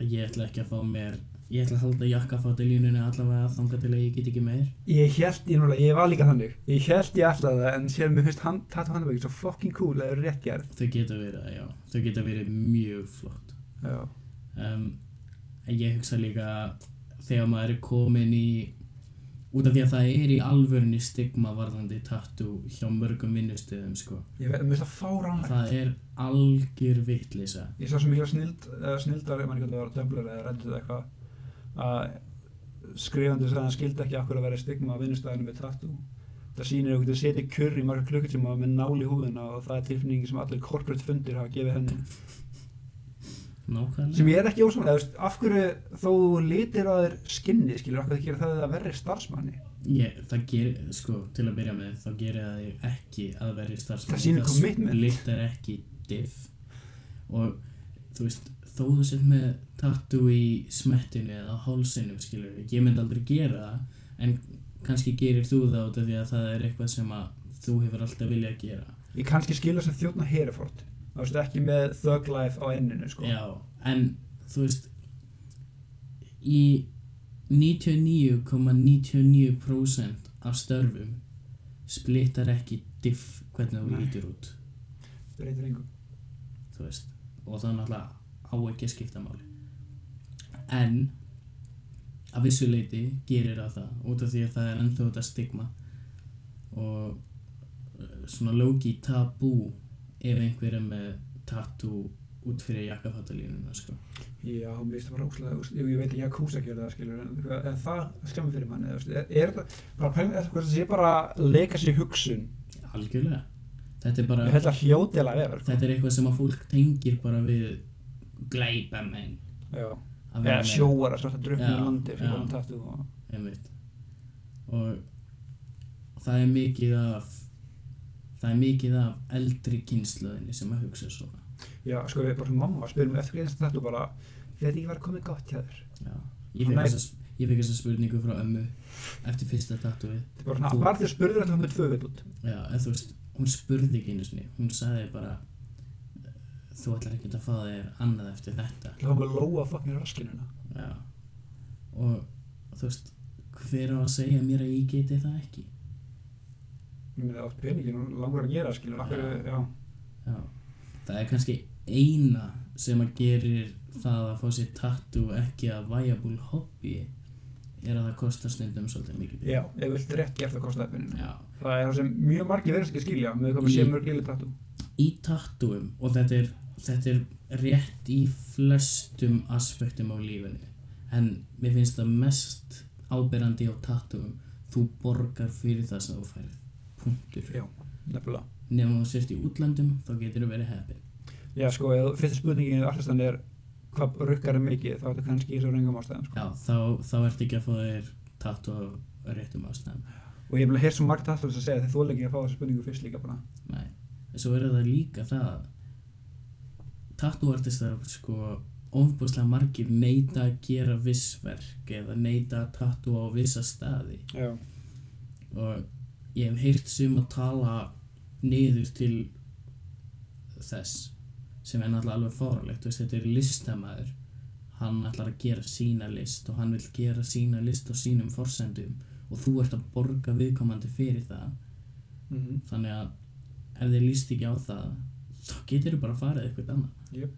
[SPEAKER 1] ég ætla ekki að fá mér, ég ætla að halda jakkafátt í línunni allavega þanga til að ég get ekki meir.
[SPEAKER 2] Ég held, ég, núlega, ég var líka þannig Ég held ég alltaf það, en sér mér fyrst hand, tattu handabökin svo fucking cool að það eru rétt gerð
[SPEAKER 1] Þau geta verið, það, já, þau geta verið mjög flott.
[SPEAKER 2] Já,
[SPEAKER 1] Um, en ég hugsa líka þegar maður er komin í, út af því að það er í alvörunni stigma varðandi tattoo hjá mörgum vinnustöðum, sko.
[SPEAKER 2] ég veit, mér finnst það fáránlegt
[SPEAKER 1] Það er algjör vittlisa.
[SPEAKER 2] ég sá svo mikla snild, uh, snildar ef maður ekki að það var döblur eða reddit eða eitthvað að skrifandi sagði að hann skildi ekki akkur að vera stigma á vinnustæðinu með tattoo það sýnir að þú getur setið kjörr í marga klukkutíma með nál í húðina og það er tilfinningi sem allir corporate fundir hafa gefið henni
[SPEAKER 1] Nákvæmlega.
[SPEAKER 2] sem ég er ekki ósamlega, veist, af hverju þó þú litir að þér skinni skilur, af hverju það gera það að verri starfsmanni
[SPEAKER 1] Ég, það gerir, sko, til að byrja með þá gerir það þig ekki að verði starfsmann
[SPEAKER 2] Það sýnir commitment.
[SPEAKER 1] splittar ekki diff og þú veist, þó þú sett með tattoo í smettinu eða á hálsinu, skilur við, ég myndi aldrei gera það en kannski gerir þú það út af því að það er eitthvað sem að þú hefur alltaf viljað gera
[SPEAKER 2] ég kannski skilur sem þjóna herifort þú veist, ekki með thug life á enninu sko.
[SPEAKER 1] Já, en þú veist í 99,99% af störfum splittar ekki diff hvernig þú
[SPEAKER 2] Nei.
[SPEAKER 1] lítur út
[SPEAKER 2] breytir engu
[SPEAKER 1] þú veist og það er náttúrulega á ekki að skipta máli en að vissu leiti gerir það það út af því að það er ennþá þetta stigma og eh, svona lóki tabú ef einhver er með tattoo út fyrir jakkafattalínuna sko.
[SPEAKER 2] Já, mér finnst það bara óslega, ég, ég veit ekki að kúsa ekki það skilur, en, en það skemmir fyrir manni, þú veist, er, er það, bara pælum þetta, hvort það sé bara legacy hugsun,
[SPEAKER 1] algjörlega þetta er bara
[SPEAKER 2] ég held að hljótilega vera, sko.
[SPEAKER 1] þetta er eitthvað sem að fólk tengir bara við glæbamenn
[SPEAKER 2] Já,
[SPEAKER 1] að
[SPEAKER 2] eða
[SPEAKER 1] vera með-
[SPEAKER 2] sjóara, svona druknum
[SPEAKER 1] Já,
[SPEAKER 2] í landi,
[SPEAKER 1] já.
[SPEAKER 2] fyrir hann tattu og,
[SPEAKER 1] einmitt og það er mikið af það er mikið af eldri kynnslöðinni sem að hugsa svona
[SPEAKER 2] já, sko, ég bara mamma, spyrir mig eftir hvernig þetta tattu bara, þetta ekki var komið gott hjá þér,
[SPEAKER 1] já. ég fekk
[SPEAKER 2] Nei.
[SPEAKER 1] þessa, Ég fekk þessa spurningu frá ömmu eftir fyrsta tattooið.
[SPEAKER 2] Þetta er bara svona,
[SPEAKER 1] Þú-
[SPEAKER 2] var þér spurður alltaf með tvö vill út?
[SPEAKER 1] Já, en þú veist, hún spurði ekki einu sinni. Hún sagði bara, þú ætlar ekkert að fá þér annað eftir þetta.
[SPEAKER 2] Það var með lóa fucking hérna. raskinuna.
[SPEAKER 1] Já. Og þú veist, hver á að segja mér að ég geti það ekki?
[SPEAKER 2] Ég meina, það átt peningin og langur að gera, skilur, akkur, já.
[SPEAKER 1] Já. Það er kannski eina sem að gerir það að fá sér tattoo ekki að viable hobby er að það kostar stundum svolítið mikið
[SPEAKER 2] Já, ef þú vilt rétt gert það kostaði peningin.
[SPEAKER 1] Já.
[SPEAKER 2] Það er það sem mjög margir verðast ekki skilja með hvað maður sé
[SPEAKER 1] Í-
[SPEAKER 2] mörg lilla tattoo.
[SPEAKER 1] Í tattooum og þetta er, þetta er rétt í flestum aspektum á lífinu en mér finnst það mest áberandi á tattooum þú borgar fyrir það sem þú færð punktur.
[SPEAKER 2] Já, nefnilega.
[SPEAKER 1] Nefnum þú sért í útlöndum þá getur þú verið heppin.
[SPEAKER 2] Já, sko, ef fyrsta spurningin í allastan er hvað rukkar er mikið, þá er þetta kannski í svo rengum ástæðum, sko.
[SPEAKER 1] Já, þá, þá ertu ekki að fá þér tattoo af réttum ástæðum.
[SPEAKER 2] Og ég hef bara heyrt svo margt tattoo sem segja þeir þóla ekki að fá þessa spurningu fyrst líka bara.
[SPEAKER 1] Nei, en svo er það líka það að tattúartistar sko ofbúslega margir neita að gera viss verk eða neita að tattúa á vissa staði
[SPEAKER 2] Já.
[SPEAKER 1] og ég hef heyrt sum að tala niður til þess sem er náttúrulega alveg fórulegt veist, þetta er listamaður hann ætlar að gera sína list og hann vil gera sína list á sínum forsendum og þú ert að borga viðkomandi fyrir það
[SPEAKER 2] Mm -hmm.
[SPEAKER 1] þannig að ef þið líst ekki á það þá getur þið bara að fara eitthvað annað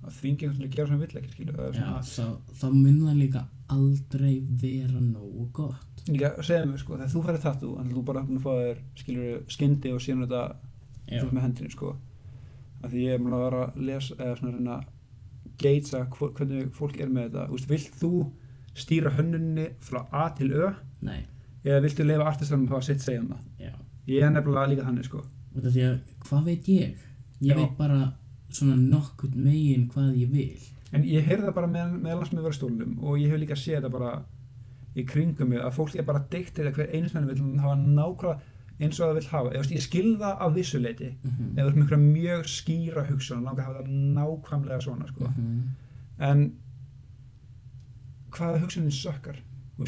[SPEAKER 2] Það þvingi einhvern veginn að gera sem vill ekki, skilur. Það er svona,
[SPEAKER 1] Já, þá, þá mun það líka aldrei vera nógu gott
[SPEAKER 2] Líka, segðu mér sko, þegar þú færði tattoo, þannig að þú bara hann að fá þér, skilur, skyndi og síðan þetta
[SPEAKER 1] Já,
[SPEAKER 2] með hendinni, sko. Af því ég er múin að vera að lesa, eða svona reyna að geitsa hvernig fólk er með þetta. Þú veist, vilt þú stýra hönninni frá A til Ö
[SPEAKER 1] nei,
[SPEAKER 2] eða viltu leifa artistanum að hafa sitt segja um það?
[SPEAKER 1] já
[SPEAKER 2] Ég er nefnilega líka þannig, sko.
[SPEAKER 1] Út af því að hvað veit ég? Ég
[SPEAKER 2] Já.
[SPEAKER 1] veit bara svona nokkurn veginn hvað ég vil
[SPEAKER 2] En ég heyrði það bara með, með alls með vera stólum og ég hef líka séð þetta bara í kringum mig að fólk er bara deikt til að hver einsmenn vil hafa nákvæmlega eins og það vil hafa. Ég, veist, ég skil það af vissuleiti
[SPEAKER 1] Mhm.
[SPEAKER 2] eða þú ert með einhverja mjög skýra hugsun og langar að hafa það nákvæmlega svona, sko.
[SPEAKER 1] Mhm.
[SPEAKER 2] En hvaða hugsunin sökkar?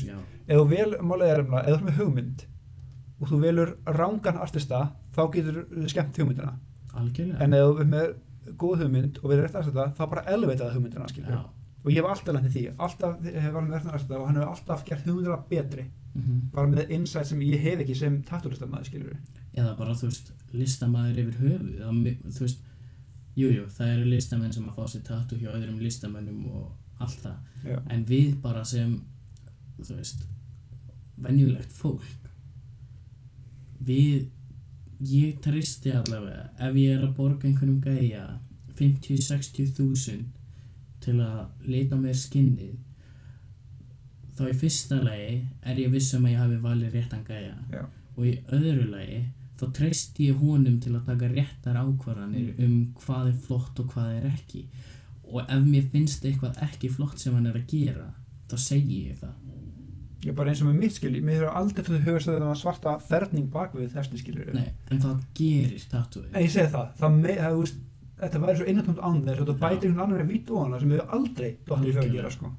[SPEAKER 1] Já,
[SPEAKER 2] Ef þú vel, málið er umlega, ef þú ert með hugmynd og þú velur rángan artista, þá getur þú skemmt hugmyndina.
[SPEAKER 1] algjörlega
[SPEAKER 2] En ef þú ert með góð hugmynd og velur rétt artista, þá bara elveitað hugmyndina, skilur.
[SPEAKER 1] Já,
[SPEAKER 2] Og ég hef alltaf lendið því, alltaf eh, hef valið með rétt artista og hann hefur alltaf gert hugmyndina betri,
[SPEAKER 1] mhm.
[SPEAKER 2] bara með insight sem ég hef ekki sem tattúlistamæði, skilur.
[SPEAKER 1] eða bara þú veist listamaður yfir höfuð eða mi- þú veist, jújú, jú, það eru listamenn sem að fá sér tattu hjá öðrum listamennum og allt það
[SPEAKER 2] Já.
[SPEAKER 1] en við bara sem þú veist venjulegt fólk við ég tristi allavega ef ég er að borga einhvernum gæja 50-60 þúsund til að leita mér skinnið þá í fyrsta lagi er ég viss um að ég hafi valið réttan gæja
[SPEAKER 2] Já.
[SPEAKER 1] og í öðru lagi þá treysti ég honum til að taka réttar ákvarðanir um hvað er flott og hvað er ekki og ef mér finnst eitthvað ekki flott sem hann er að gera þá segi ég það
[SPEAKER 2] Ég er bara eins og með mitt, skilur. Mér hefur aldrei til að hugast að þetta var svarta ferning bakvið þessu, skilur.
[SPEAKER 1] Nei, en það gerir tattooið
[SPEAKER 2] En ég segi það, það með, það, þú veist, þetta væri svo innantómt án þess og þú
[SPEAKER 1] Já.
[SPEAKER 2] bætir einhvern annar en vít og hana sem við aldrei dottir í höfðu að
[SPEAKER 1] Algjörlega.
[SPEAKER 2] gera, sko.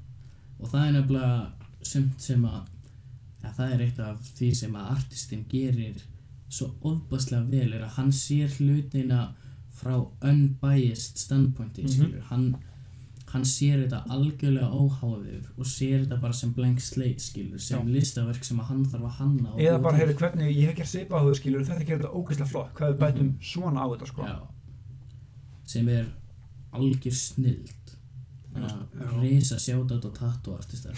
[SPEAKER 1] og það er nefnilega sumt sem að ja, það er eitt af því sem að artistinn gerir svo ofbaslega vel er að hann sér hlutina frá unbiased standpointi
[SPEAKER 2] Mhm.
[SPEAKER 1] mm hann, hann sér þetta algjörlega óháður og sér þetta bara sem blank slate skilur sem
[SPEAKER 2] Já.
[SPEAKER 1] listaverk sem að hann þarf að hanna og
[SPEAKER 2] Eða
[SPEAKER 1] búa
[SPEAKER 2] bara,
[SPEAKER 1] til.
[SPEAKER 2] heyrðu, hvernig, ég hef gert svipa á þau, skilur, þetta gerir þetta ógeðslega flott, hvað við bætum svona á þetta, sko.
[SPEAKER 1] Mhm. Já. sem er algjör snild
[SPEAKER 2] Já.
[SPEAKER 1] reysa sjátat og tattoo artistar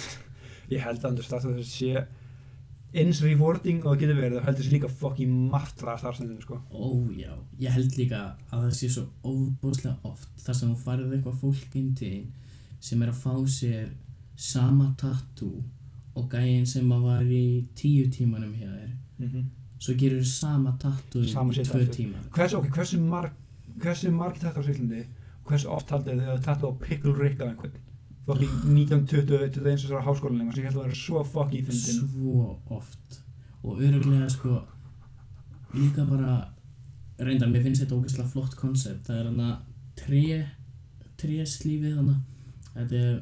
[SPEAKER 2] Ég held að andur start að þessi sé eins rewarding og það getur verið, þá heldur þessi líka fucking martra starfstændinu, sko.
[SPEAKER 1] Ó já, ég held líka að það sé svo óbúslega oft þar sem þú farið eitthvað fólk inn til þín sem er að fá sér sama tattoo og gæinn sem að var í tíu tímanum hjá þér svo gerur sama tattoo
[SPEAKER 2] Sama
[SPEAKER 1] í
[SPEAKER 2] shit
[SPEAKER 1] tvö
[SPEAKER 2] aftur.
[SPEAKER 1] tíma
[SPEAKER 2] Hversu, ok, hversu marg, hversu marg þetta á Sýrlandi, hversu oft haldið þið að þetta á Pickle Rick af einhvern? Fucking 1920, 21 og þessara háskólinni, sem ég held að vera svo fucking fyndin.
[SPEAKER 1] svo oft og öruglega sko líka bara reyndar, mér finnst þetta ógeðslega flott konsept það er hann að tré tréslífið hann þetta er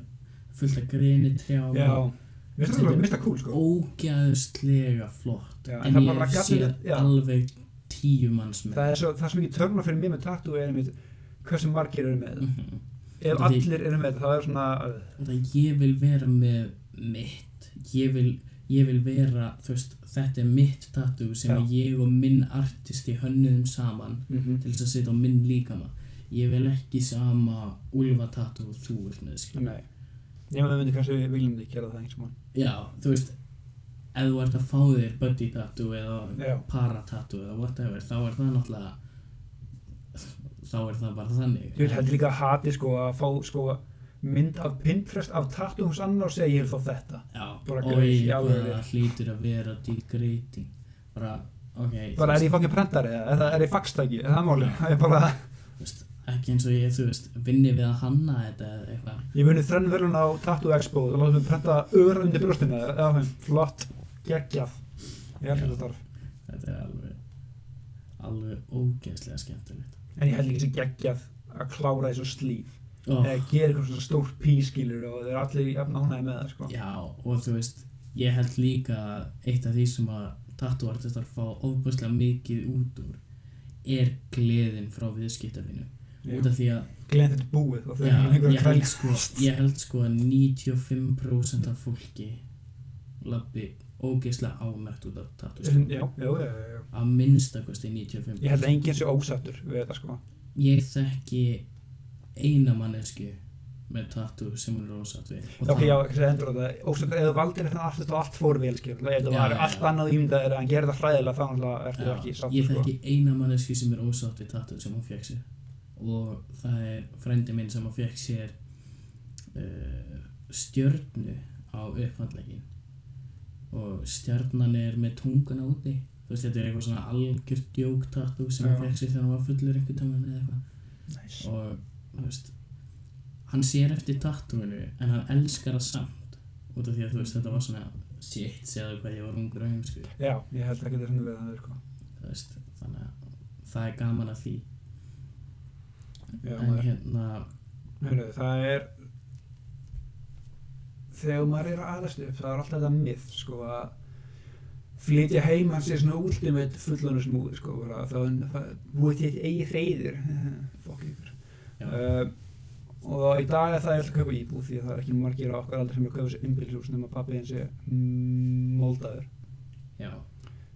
[SPEAKER 1] fullt af greni trjám
[SPEAKER 2] Já, Mér
[SPEAKER 1] Þetta
[SPEAKER 2] finnst það alveg-
[SPEAKER 1] er-
[SPEAKER 2] mér finnst það cool sko
[SPEAKER 1] ógæðslega flott
[SPEAKER 2] Já, en
[SPEAKER 1] en
[SPEAKER 2] það
[SPEAKER 1] ég
[SPEAKER 2] bara gat
[SPEAKER 1] sé
[SPEAKER 2] þetta- já.
[SPEAKER 1] alveg tíu manns með
[SPEAKER 2] það er svo, það er svo mikið törna fyrir mér með tattoo er einmitt hversu margir eru með
[SPEAKER 1] mm
[SPEAKER 2] þetta ef
[SPEAKER 1] Þetta er-
[SPEAKER 2] allir eru með þetta það er svona uh,
[SPEAKER 1] það ég vil vera með mitt ég vil, ég vil vera þú veist, þetta er mitt tattoo sem
[SPEAKER 2] Já.
[SPEAKER 1] ég og minn artisti hönnuðum saman
[SPEAKER 2] Mhm.
[SPEAKER 1] til þess að setja á minn líkama ég vil ekki sama Ulfa tattoo og þú ert með skil
[SPEAKER 2] nei ég með myndi kannski viljum þig gera það eins og mann
[SPEAKER 1] já, þú veist ef þú ert að fá þér buddy tattoo eða
[SPEAKER 2] Já.
[SPEAKER 1] para tattoo eða whatever þá er það náttúrulega þá er það bara þannig
[SPEAKER 2] ég vil heldur líka að hati sko að fá sko mynd af Pinterest af tattoo hos annar og segja ég vil fá þetta
[SPEAKER 1] já,
[SPEAKER 2] Bara
[SPEAKER 1] og
[SPEAKER 2] greið,
[SPEAKER 1] ég
[SPEAKER 2] já,
[SPEAKER 1] bara
[SPEAKER 2] alveg.
[SPEAKER 1] hlýtur að vera degrading bara, ok þú veist,
[SPEAKER 2] bara er ég fangin prentari eða er, er ég faxtæki eða það máli það er bara
[SPEAKER 1] þú veist, ekki eins og ég, þú veist, vinni við að hanna þetta eða eitthvað
[SPEAKER 2] ég muni þrenn verðun á Tattoo Expo og látum við prenta öðra undir brjóstina eða það er flott geggjaf ég er
[SPEAKER 1] Já.
[SPEAKER 2] þetta starf
[SPEAKER 1] þetta er alveg alveg ógeðslega skemmtilegt
[SPEAKER 2] en ég held ekki sem geggjaf að klára þessu slíf
[SPEAKER 1] oh,
[SPEAKER 2] eða gera eitthvað svona stórt pískilur og þeir eru allir jafn ánægði með það sko.
[SPEAKER 1] já, og þú veist ég held líka að eitt af því sem að tattooartistar fá ofbúslega mikið út úr er gleðin frá viðskiptafinu út af því að
[SPEAKER 2] Gleðin þetta búið og þeir
[SPEAKER 1] já,
[SPEAKER 2] eru einhverja
[SPEAKER 1] ég, held
[SPEAKER 2] kvæl
[SPEAKER 1] sko, ég held sko að 95% af fólki labbi ógeðslega ámært út af tattoostofu
[SPEAKER 2] Já, já, já, já, já.
[SPEAKER 1] að minnstakosti 95%
[SPEAKER 2] Ég held að enginn sé ósættur við þetta sko.
[SPEAKER 1] ég þekki eina mannesku með tattoo sem hún er ósatt við og
[SPEAKER 2] Ok, já, ekki að endur á þetta. Ósættur, ef þú valdir þetta alltaf og allt fór vel, skil. Ef það
[SPEAKER 1] Já,
[SPEAKER 2] var
[SPEAKER 1] já,
[SPEAKER 2] allt
[SPEAKER 1] já.
[SPEAKER 2] annað ímyndað er að hann gerir þetta hræðilega, þá náttúrulega ertu
[SPEAKER 1] Já,
[SPEAKER 2] ekki
[SPEAKER 1] ég
[SPEAKER 2] sáttur sko.
[SPEAKER 1] þekki eina mannesku sem er ósátt við tattoo sem hún fekk sér og það er frændi minn sem hún fekk sér uh, stjörnu á upphandlegin og stjarnan er með tunguna úti þú veist þetta er eitthvað svona algjört djók tattoo sem hún
[SPEAKER 2] Já.
[SPEAKER 1] fekk sér þegar hún var fullur einhvern tónan eða eitthvað
[SPEAKER 2] Næs.
[SPEAKER 1] og þú veist hann sér eftir tattooinu en hann elskar það samt út af því að þú veist þetta var svona shit, segðu hvað ég var ungur og heimsku
[SPEAKER 2] Já, ég held ekki þetta við það sko.
[SPEAKER 1] þú veist, þannig að það er gaman að því
[SPEAKER 2] Já,
[SPEAKER 1] en
[SPEAKER 2] maður-
[SPEAKER 1] hérna,
[SPEAKER 2] Heyrðu, það er þegar maður er að aðlast upp það er alltaf þetta mið sko að flytja heim hans er svona ultimate fullonus múði sko bara, það, það búið til eitt eigi hreyðir fokk ykkur
[SPEAKER 1] Já.
[SPEAKER 2] uh, og í dag er það ég ætla að kaupa íbúð því að það er ekki margir á okkar aldrei sem er að kaupa sér umbyggðshús nema pappi hans er moldaður
[SPEAKER 1] já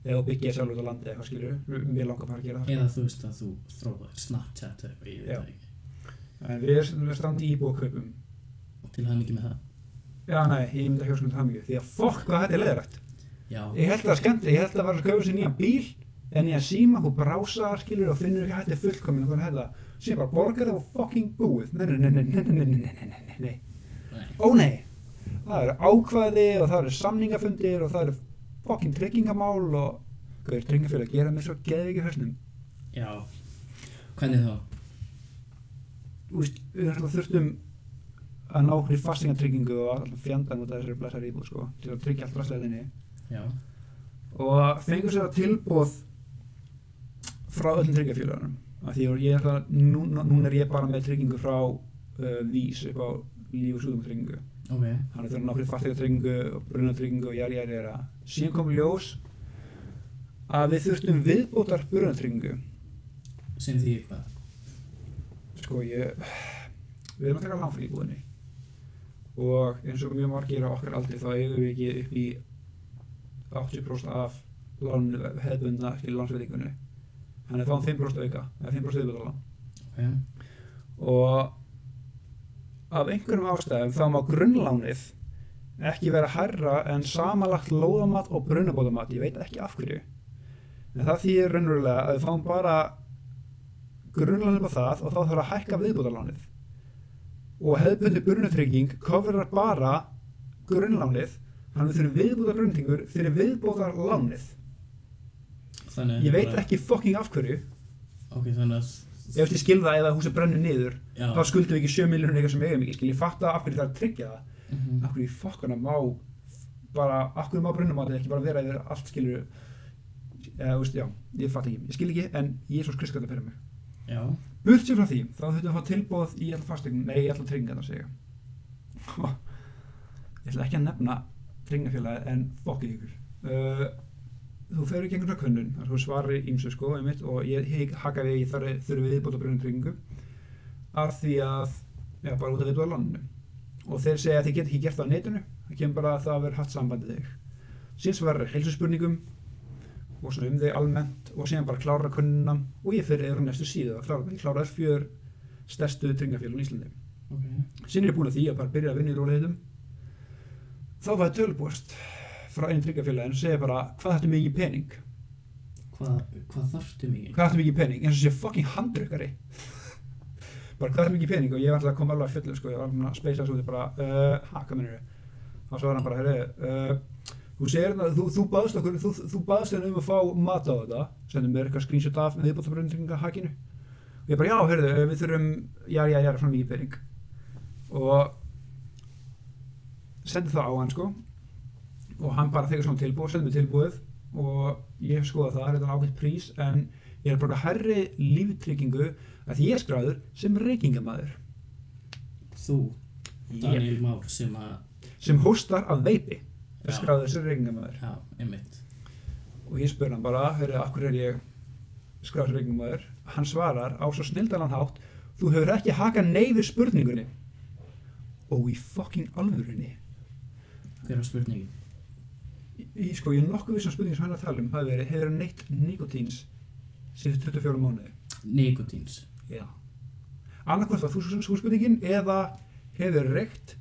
[SPEAKER 2] eða að byggja sjálf út á landi eitthvað skilur við langar bara að gera það
[SPEAKER 1] eða þú veist að þú þróaðir Snapchat eða eitthvað, ég veit
[SPEAKER 2] Já.
[SPEAKER 1] það ekki
[SPEAKER 2] en við erum standi íbúð kaupum
[SPEAKER 1] til hann ekki með það
[SPEAKER 2] já nei, ég myndi að hjósa með það mikið því að fokk hvað þetta er leðrætt
[SPEAKER 1] já,
[SPEAKER 2] Ég held það skemmt, ég held það var að köpa sér nýjan bíl en nýjan síma, þú brásar, skilur og finnur ekki að þetta er fullkomin og hvernig hefða síðan bara borgar það og fucking búið nei, nei, nei, nei, nei, nei, nei, nei, nei, nei
[SPEAKER 1] nei,
[SPEAKER 2] ó nei, það eru ákvæði og það eru samningafundir og það eru fucking tryggingamál og hvað er tryggingafélag að gera með svo geðið ekki höstnum
[SPEAKER 1] já hvernig þá,
[SPEAKER 2] þú veist, við erum alltaf þurftum að ná okkur í fastingatryggingu og alltaf fjandan út af þessari blæsari íbúð sko, til að tryggja allt rastleðinni
[SPEAKER 1] já,
[SPEAKER 2] og fengur sér að tilbúð frá öllum tryggingafélagunum af því að ég ætla að núna, núna er ég bara með tryggingu frá uh, vís upp á líf og sjúðum tryggingu
[SPEAKER 1] ok
[SPEAKER 2] þannig þurfa að ná fyrir fallega tryggingu og bruna tryggingu og jæri jæri jæra síðan kom ljós að við þurftum viðbótar bruna tryggingu
[SPEAKER 1] sem því eitthvað,
[SPEAKER 2] sko ég við erum að taka lán fyrir íbúðinni og eins og mjög margir á okkar aldrei þá eigum við ekki upp í 80% af lán hefðbundna skilur lánsveitingunni þannig að fáum 5% auka eða 5% viðbúðarlán
[SPEAKER 1] ok
[SPEAKER 2] og af einhverjum ástæðum þá má grunnlánið ekki vera hærra en samanlagt lóðamat og brunabótamat ég veit ekki af hverju en það þýðir raunverulega að við fáum bara grunnlánið upp á það og þá þarf að hækka viðbútarlánið og hefðbundi brunatrygging kofurar bara grunnlánið þannig við þurfum viðbútar brunatringur fyrir viðbútar lánið
[SPEAKER 1] þannig að
[SPEAKER 2] ég veit
[SPEAKER 1] bara-
[SPEAKER 2] ekki fucking af hverju
[SPEAKER 1] ok, þannig að,
[SPEAKER 2] ef ég skil það eða húsið brennur niður
[SPEAKER 1] já,
[SPEAKER 2] þá skuldum við ekki 7 miljónir eitthvað sem eigum ekki skil ég fatta af hverju það er að tryggja það
[SPEAKER 1] mhm,
[SPEAKER 2] af hverju í fokkana má bara, af hverju má brunnumátið ekki bara vera yfir allt skilur eða, þú veist, já, ég fatt ekki, ég skil ekki en Jésús Kristus þetta fyrir mig
[SPEAKER 1] já
[SPEAKER 2] burt sér frá því, þá þurftum við að fá tilbóð í alltaf fastegnum, nei, í alltaf tryggingarna segja ég ætla ekki að nefna tryggnafélagi en fokkið ykkur uh, þú ferur ekki einhverja könnun þar þú svarir ímsu sko einmitt, og ég hik- haka við ég þarf þurfi viðbóta brunum tryggingu af því að já, bara út af viðbóta landinu og þeir segja að þið get ekki gert það á netinu það kemur bara að það verður hatt sambandið þig síðan svarar heilsuspurningum og svona um þig almennt og síðan bara klára könnuna og ég fer yfir á næstu síðu að klára það ég klára þess fjör stærstu tryggingafélagin í Íslandi
[SPEAKER 1] ok,
[SPEAKER 2] Sinni er búin að því að bara byrja að vinna í rólehitum. Þá var tölbúst frá einn tryggafélagin og segja bara hvað þetta mikið pening?
[SPEAKER 1] hvað, hvað þarftu mikið?
[SPEAKER 2] Hvað þetta mikið pening? Eins og sé fucking handrykkari. bara hvað þetta mikið pening? Og ég var alltaf að koma alveg að fullu sko, ég var alveg að speisa þessu út bara, uh, ha, hvað minnur þau? Og svo var hann bara, heyrðu, uh, þú segir hérna, þú, þú baðst okkur, þú, þú baðst hérna um að fá mat á þetta, sendum mér eitthvað screenshot af með viðbóttabröndringa hakinu. Og ég bara, já, heyrðu, eh, við þurfum, já, já, já, svona mikið pening. og sendi það á hann sko og hann bara þegar svona tilbúið, sendi mig tilbúið og ég hef skoðað það, þetta er ákveðt prís en ég er bara herri líftryggingu að því ég er skráður sem reykingamæður
[SPEAKER 1] Þú, Daniel Már sem að,
[SPEAKER 2] sem hóstar af veipi er
[SPEAKER 1] Já.
[SPEAKER 2] skráður sem reykingamæður
[SPEAKER 1] já, einmitt
[SPEAKER 2] og ég spurði hann bara, heyrðu, af hverju er ég skráður sem reykingamæður hann svarar á svo snildalan hátt þú hefur ekki hakað nei við spurningunni og í fucking alvörunni
[SPEAKER 1] Hver var spurningin?
[SPEAKER 2] Í, sko, ég er nokkuð vissum spurning sem hann er að tala um hafi verið, hefur hann neitt nikotíns síðan 24 mánuði?
[SPEAKER 1] Nikotíns
[SPEAKER 2] Já. Annarkvæmt var þú svo, svo spurningin eða hefur reykt,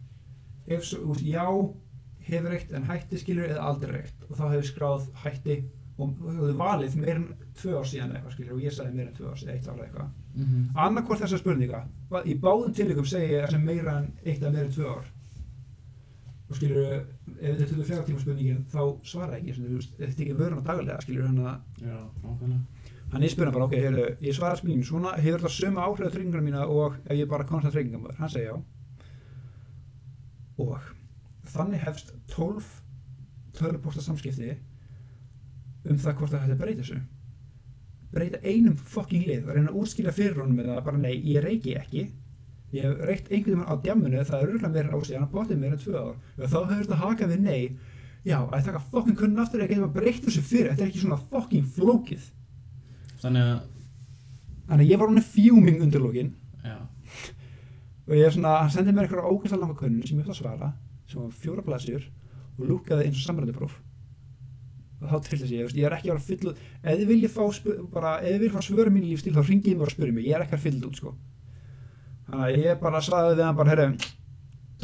[SPEAKER 2] ef svo, úst, já, hefur reykt en hætti skilur eða aldrei reykt og þá hefur skráð hætti og þú hefur valið meir en tvö ár síðan eða eitthvað skilur og ég sagði meir en tvö ár síðan eitt ár eða eitthvað.
[SPEAKER 1] mm -hmm.
[SPEAKER 2] Annarkvæmt þessar spurninga, va- í báðum tilvikum segi ég að sem meira en eitt eða meira en tvö ár og skilur, ef þetta er 24 tíma spurningin þá svara ekki, sem þú veist, ef þetta ekki vörun á daglega, skilur hann að
[SPEAKER 1] Já, nákvæmlega
[SPEAKER 2] hann er spurning bara, ok, heyrðu, ég svara spurningin svona, hefur þetta sömu áhrif á trygginguna mína og ef ég er bara konstant tryggingamöður, hann segja já og þannig hefst 12 tölvupósta samskipti um það hvort að þetta breyta þessu breyta einum fucking lið reyna að útskýra fyrir honum með það bara nei, ég reyki ekki ég hef reykt einhvern veginn á djammunu það er örgulega meira ásíðan, hann bóttið meira en tvö ár og þá hefur þetta hakað við nei já, að taka fucking kunn aftur eða getur maður breytt þessu fyrir þetta er ekki svona fucking flókið
[SPEAKER 1] Þannig að,
[SPEAKER 2] Þannig að ég var hann fjúming undir lókin
[SPEAKER 1] já,
[SPEAKER 2] og ég er svona, hann sendið mér eitthvað ógæslega langa könnun sem ég ætla að svara, sem var fjóra blaðsjur og lúkaði eins og samrændupróf og þá trillast ég, ég, veist, ég er ekki að vera fyllu ef þið viljið fá, spu- bara, ef þið viljið fá svöru mín í lífstíl þá ringið mér og spurðið mig, ég er ekki að fyllu út sko. þannig að ég bara sagði við hann bara, herru,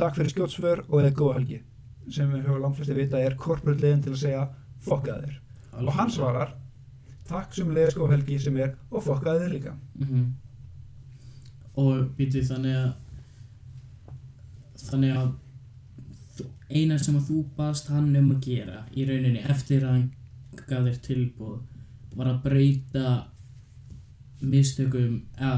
[SPEAKER 2] takk fyrir skjótsvör og eða góða helgi sem við höfum langflesti vita er corporate leiðin til að segja fokkaði þér, og hann svarar takk sem leiðis góða helgi sem er og fokkaði þér líka
[SPEAKER 1] Mhm. Og býtu þannig að Þannig að þú- Eina sem að þú baðst hann um að gera Í rauninni eftir að hann gaf þér tilbúð Var að breyta Mistökum Eða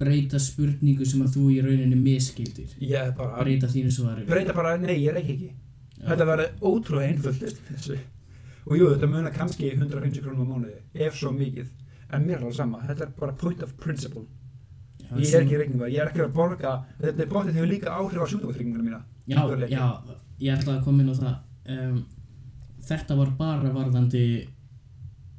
[SPEAKER 1] breyta spurningu sem að þú í rauninni miskildir
[SPEAKER 2] ég er bara,
[SPEAKER 1] Breyta þínu svari
[SPEAKER 2] breyta bara, nei, ég reik ekki
[SPEAKER 1] Já.
[SPEAKER 2] þetta verður ótrúlega einföldist þessu. og jú, þetta munar kannski 150 krónum á mánuði, ef svo mikið en mér er alveg sama, þetta er bara point of principle
[SPEAKER 1] Já,
[SPEAKER 2] ég er
[SPEAKER 1] sem-
[SPEAKER 2] ekki reiknum ég er ekki að borga, þetta er bóttið hefur líka áhrif á sjúkdómatryggingunum mína
[SPEAKER 1] Já,
[SPEAKER 2] Einhver leiki.
[SPEAKER 1] já, ég ætlaði að koma inn á það um, Þetta var bara varðandi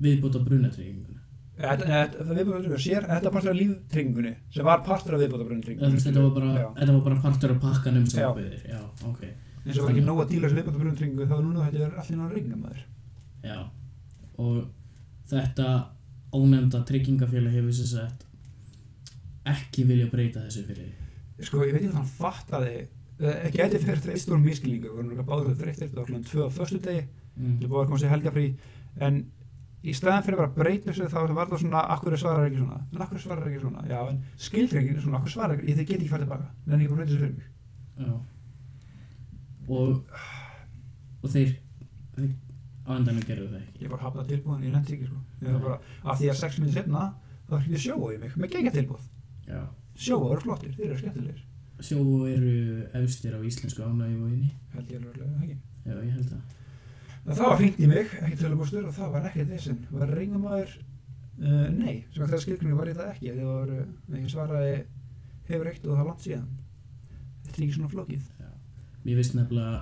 [SPEAKER 1] viðbúta brunatrygginguna
[SPEAKER 2] Þetta- þetta- það viðbótabrunum sér, þetta er partur af líftryggingunni sem var partur af
[SPEAKER 1] Eða, þú
[SPEAKER 2] viðbótabrunum
[SPEAKER 1] veist, þetta, var bara,
[SPEAKER 2] Já.
[SPEAKER 1] þetta var bara partur af pakkanum sem
[SPEAKER 2] Já.
[SPEAKER 1] var byggðir Já, ok
[SPEAKER 2] eins og var ekki nóg að díla þessu viðbótabrunum tryggingu þá er núna þetta er allir náður reiknumæður
[SPEAKER 1] Já, og þetta ónefnda tryggingafélag hefur sem sagt ekki vilja breyta þessu fyrir þig.
[SPEAKER 2] sko, ég veit ekki að hann fattaði eh, gæti fyrir þreistur miskilningu við vorum báður þreistur, það var hljóðan tvö á förstu degi
[SPEAKER 1] mm.
[SPEAKER 2] Þetta er búið að koma sér helgafrí en í staðan fyrir bara að breyta þessu þá var það svona, akkur svarar ekki svona en akkur svarar ekki svona, já en skildrengin er svona, akkur svarar ekki, ég þið get ekki farið tilbaka en ekki bara breyta þessu fyrir mig
[SPEAKER 1] Já Og og þeir, þeir á endanum gerðu það ekki
[SPEAKER 2] ég bara hafði það tilbúðan, ég nefndi ekki sko ég var bara, af því að sex minn setna þá hringdi sjóa í mig, með gegja tilbúð
[SPEAKER 1] Já
[SPEAKER 2] sjóa eru flottir, þeir eru skemmtilegir
[SPEAKER 1] Sjóu eru efstir á íslensku ánægjumóginni
[SPEAKER 2] held ég alveg örugglega, eða ekki
[SPEAKER 1] Já, ég held það
[SPEAKER 2] en þá hringdi í mig, ekki tölubústur og það var ekki þessin, var reyngamæður uh, nei, sem að það skildrengin var ég það ekki þegar var, uh, ég svaraði hefur eitt og það var langt síðan þetta er ekki svona flókið
[SPEAKER 1] Mér finnst nefnilega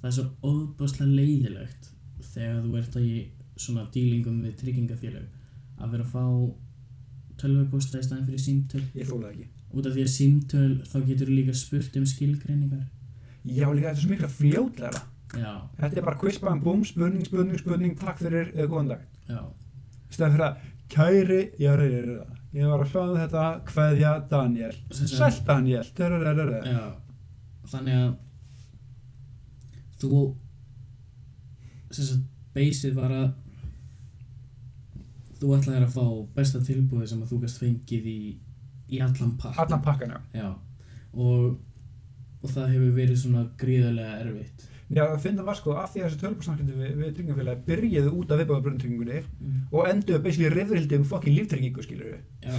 [SPEAKER 1] það er svo óbúslega leiðilegt þegar þú ert í svona dílingum við tryggingafélög að vera að fá tölvupósta í staðin fyrir símtöl
[SPEAKER 2] ég þóla það ekki
[SPEAKER 1] út af því að símtöl þá getur líka spurt um skilgreiningar
[SPEAKER 2] já líka þetta er svo mikla fljótlega
[SPEAKER 1] já,
[SPEAKER 2] þetta er bara quiz, bam, búm, spurning, spurning, spurning takk fyrir, eða góðan dag
[SPEAKER 1] já,
[SPEAKER 2] í stæðan fyrir að kæri, já, reyri, reyri, reyri ég var að hlaða þetta, kveðja Daniel
[SPEAKER 1] Sem sagt-
[SPEAKER 2] sæl Daniel reyri, reyri, reyri.
[SPEAKER 1] já þannig að þú sem sagt beysið var að þú ætlaðir að fá besta tilbúið sem að þú gast fengið í í allan pakk
[SPEAKER 2] allan pakkan, já
[SPEAKER 1] Já, og, og það hefur verið svona gríðarlega erfitt.
[SPEAKER 2] já, að finna var sko, af því að þessi tölvbúrsamkjöndi við, við tryggingafélagi byrjuðu út af viðbáðabröndtryggingunni og enduðu basically rifrildi um fokkin líftryggingu, skilur við
[SPEAKER 1] Já,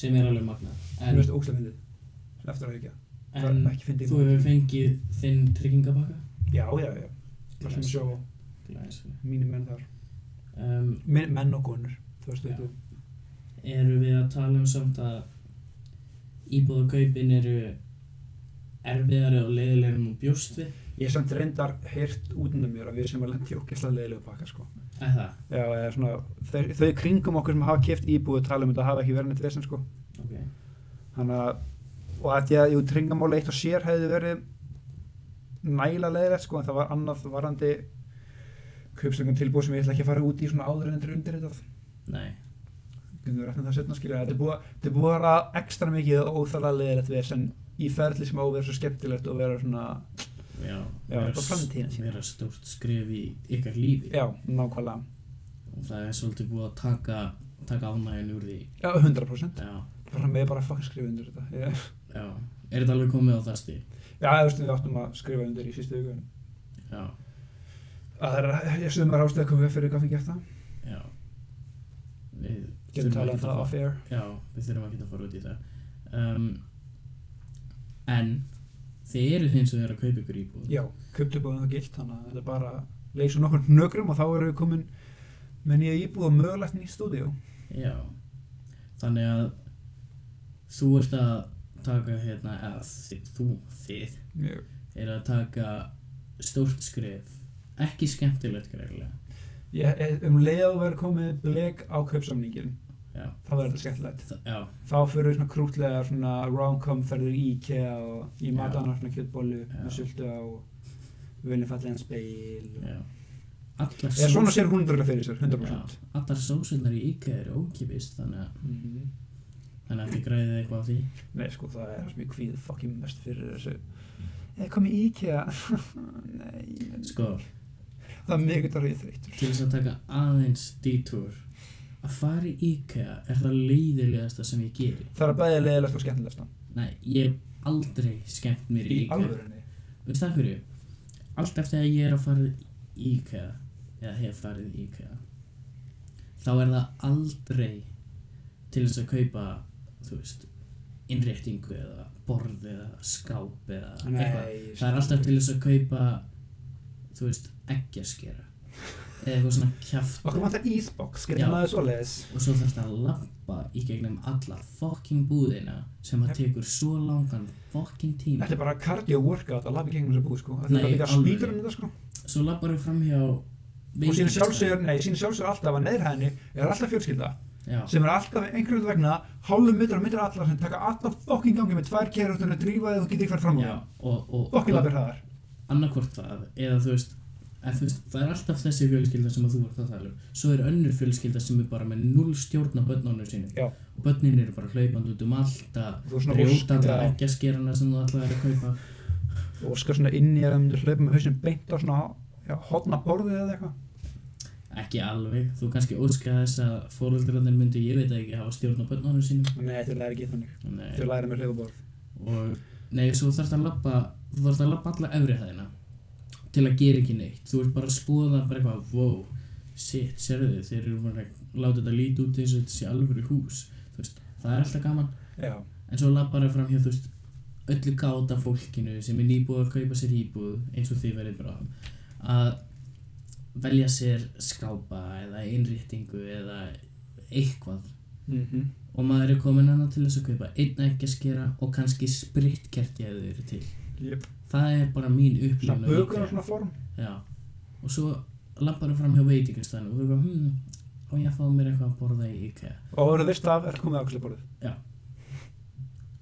[SPEAKER 1] sem er alveg magnað.
[SPEAKER 2] þú
[SPEAKER 1] En,
[SPEAKER 2] veist, ógstlega myndið eftir að ekki, það
[SPEAKER 1] en
[SPEAKER 2] er ekki fyndið
[SPEAKER 1] þú hefur fengið þinn tryggingabakka?
[SPEAKER 2] já, já, já, það sem sjá
[SPEAKER 1] Glæs.
[SPEAKER 2] mínir menn þar,
[SPEAKER 1] Um,
[SPEAKER 2] Min, menn og konur þú veist,
[SPEAKER 1] Já.
[SPEAKER 2] þú
[SPEAKER 1] eru við að tala um samt að íbúðakaupin eru erfiðari og leiðilegri nú bjóst við?
[SPEAKER 2] ég samt reyndar heyrt út undan mér að við sem að lendi ógæslega leiðilegu pakka, sko
[SPEAKER 1] Eða það,
[SPEAKER 2] Já, eða svona, þau, þau í kringum okkur sem hafa keft íbúið tala um þetta hafa ekki verið neitt vesen sko.
[SPEAKER 1] ok.
[SPEAKER 2] Þannig að, og að því að jú, tringamála eitt og sér hefði verið næla leiðilegt sko, en það var annað varandi kaupslöngum tilbúið sem ég ætla ekki að fara út í svona áður en þetta er undir þetta.
[SPEAKER 1] Nei,
[SPEAKER 2] Getum við rættin það setna skilja, þetta er búið, þetta er búið að vera ekstra mikið og óþarlega leiðilegt vesen í ferli sem á að vera svo skemmtilegt og vera svona,
[SPEAKER 1] já,
[SPEAKER 2] Já,
[SPEAKER 1] vera
[SPEAKER 2] upp á framtíðina
[SPEAKER 1] st-
[SPEAKER 2] sína.
[SPEAKER 1] vera stórt skref í ykkar lífi
[SPEAKER 2] já, nákvæmlega,
[SPEAKER 1] og það er svolítið búið að taka, taka ánægjun úr því.
[SPEAKER 2] já, 100%.
[SPEAKER 1] Já.
[SPEAKER 2] Bara með bara fucking skrifa undir þetta. Ég,
[SPEAKER 1] Já, er þetta alveg komið á það stíl?
[SPEAKER 2] já, þú veist, við áttum að skrifa undir í sístu viku, en
[SPEAKER 1] Já,
[SPEAKER 2] að það er, ég sumar ástæði komið fyrir hvað við gert það
[SPEAKER 1] já. Við
[SPEAKER 2] getum
[SPEAKER 1] þurfum
[SPEAKER 2] talað um
[SPEAKER 1] ekkert
[SPEAKER 2] það
[SPEAKER 1] að
[SPEAKER 2] off
[SPEAKER 1] fara-
[SPEAKER 2] air
[SPEAKER 1] Já, við þurfum ekki að fara út í það. Um, en þið eruð hins vegar að kaupa ykkur íbúð.
[SPEAKER 2] já, kauptubóðum það gilt þannig að þetta er bara að leysa nokkur nökrum og þá erum við komin með nýja íbúð og mögulegt nýtt stúdíu
[SPEAKER 1] Já. Þannig að þú ert að taka hérna, eða þið, þú, þið,
[SPEAKER 2] já,
[SPEAKER 1] er að taka stórt skref. Ekki skemmtilegt greiðlega.
[SPEAKER 2] ég, um leið að vera komið blek á kaupsamningin
[SPEAKER 1] Já.
[SPEAKER 2] þá verður þetta skemmtilegt
[SPEAKER 1] Það, já,
[SPEAKER 2] þá fyrir við svona krútlega svona rom-com ferður í IKEA og í
[SPEAKER 1] Já.
[SPEAKER 2] matanar svona kjötbollu
[SPEAKER 1] Já.
[SPEAKER 2] með sultu á og við viljum falla einn speil og...
[SPEAKER 1] já. Allar
[SPEAKER 2] eða svona sér hún hundurlega fyrir sér, 100%
[SPEAKER 1] Já, allar sósunar í IKEA eru ókipist þannig að
[SPEAKER 2] Mhm.
[SPEAKER 1] Þannig að þið græðið eitthvað á því
[SPEAKER 2] Nei, sko, það er það sem ég kvíð fucking mest fyrir þessu. Ég kom í IKEA. Nei.
[SPEAKER 1] Sko,
[SPEAKER 2] Það er mikið þar ég þreytur.
[SPEAKER 1] til þess að taka aðeins detour Að fara í IKEA er það leiðilegasta sem ég geri
[SPEAKER 2] Það er bæðið leiðilegt og skemmtilegast.
[SPEAKER 1] Nei, ég hef aldrei skemmt mér í
[SPEAKER 2] Í
[SPEAKER 1] IKEA
[SPEAKER 2] alvörunni.
[SPEAKER 1] Veist það hverju? Allt eftir að ég er að fara í IKEA Eða hef farið í IKEA Þá er það aldrei til þess að kaupa, þú veist, innréttingu eða borð eða skáp eða eitthvað Það
[SPEAKER 2] sko.
[SPEAKER 1] er alltaf til þess að kaupa, þú veist, eggjaskera eða eitthvað svona kjaft
[SPEAKER 2] Okkur vantar Ísbox,
[SPEAKER 1] Já.
[SPEAKER 2] getur maður svo leiðis.
[SPEAKER 1] og svo þarf það að lappa í gegnum alla fucking búðina sem að tekur svo langan fucking tíma.
[SPEAKER 2] Þetta er bara cardio workout að lafa í gegnum þessu búið, sko. Þetta
[SPEAKER 1] Nei,
[SPEAKER 2] er líka
[SPEAKER 1] alvöru.
[SPEAKER 2] spýtur um þetta, sko.
[SPEAKER 1] Svo lappar við fram hjá
[SPEAKER 2] Og síðan sjálfsögur, nei, síðan sjálfsögur alltaf að neðra henni er alltaf fjölskylda
[SPEAKER 1] Já,
[SPEAKER 2] sem er alltaf einhverjum vegna hálfum mittur og mittur allar sem taka alltaf fucking gangi með tvær kerur og drífa þig og getur ekki farið fram á
[SPEAKER 1] já,
[SPEAKER 2] það.
[SPEAKER 1] og, og,
[SPEAKER 2] Fucking
[SPEAKER 1] og
[SPEAKER 2] labir hraðar.
[SPEAKER 1] annarkvort það, eða þú veist, en þú veist, það er alltaf þessi fjölskylda sem að þú vart að tala um. Svo er önnur fjölskylda sem er bara með null stjórn á börnunum sínum.
[SPEAKER 2] Já.
[SPEAKER 1] Og börnin eru bara hlaupandi út um allt að
[SPEAKER 2] Þú er svona ósk-
[SPEAKER 1] brjóta alla
[SPEAKER 2] já.
[SPEAKER 1] eggjaskerana sem þú ætlaðir að kaupa.
[SPEAKER 2] og skar svona inn í að það myndir hlaupa með hausinn beint á svona já, hotna borðið eða eitthvað
[SPEAKER 1] Ekki alveg, þú kannski óskaði þess að fóröldrarnir myndi, ég veit það ekki, hafa stjórn á börnunum sínum.
[SPEAKER 2] Nei, þau læra ekki þannig
[SPEAKER 1] Nei,
[SPEAKER 2] Þau læra með hlaupa borð
[SPEAKER 1] og, nei svo þarf það að labba, þú þarf að labba alla efri hæðina til að gera ekki neitt. Þú ert bara að skoða bara eitthvað, wow, shit, sérðu þið, þeir eru bara að láta þetta líti út eins og þetta sé alvöru hús. Þú veist, það er alltaf gaman.
[SPEAKER 2] Já,
[SPEAKER 1] En svo labbar það fram hjá, þú veist, öllu gáta fólkinu sem er nýbúið að kaupa sér íbúð, eins og þið verið bráðum, að velja sér skápa eða innréttingu eða eitthvað.
[SPEAKER 2] mm
[SPEAKER 1] Mhm.
[SPEAKER 2] -hmm.
[SPEAKER 1] Og maður er komin annað til þess að kaupa einn ekki að skera og kannski spritkerti ef þau eru til.
[SPEAKER 2] Jep.
[SPEAKER 1] það er bara mín
[SPEAKER 2] Svona
[SPEAKER 1] upplifun af IKEA.
[SPEAKER 2] bökunar svona form
[SPEAKER 1] Já, og svo lampar þú fram hjá veitingastæðinu og þú eitthvað, hmm, á ég að fá mér eitthvað að borða í IKEA.
[SPEAKER 2] og það veist af er komið afgjörsleiborðið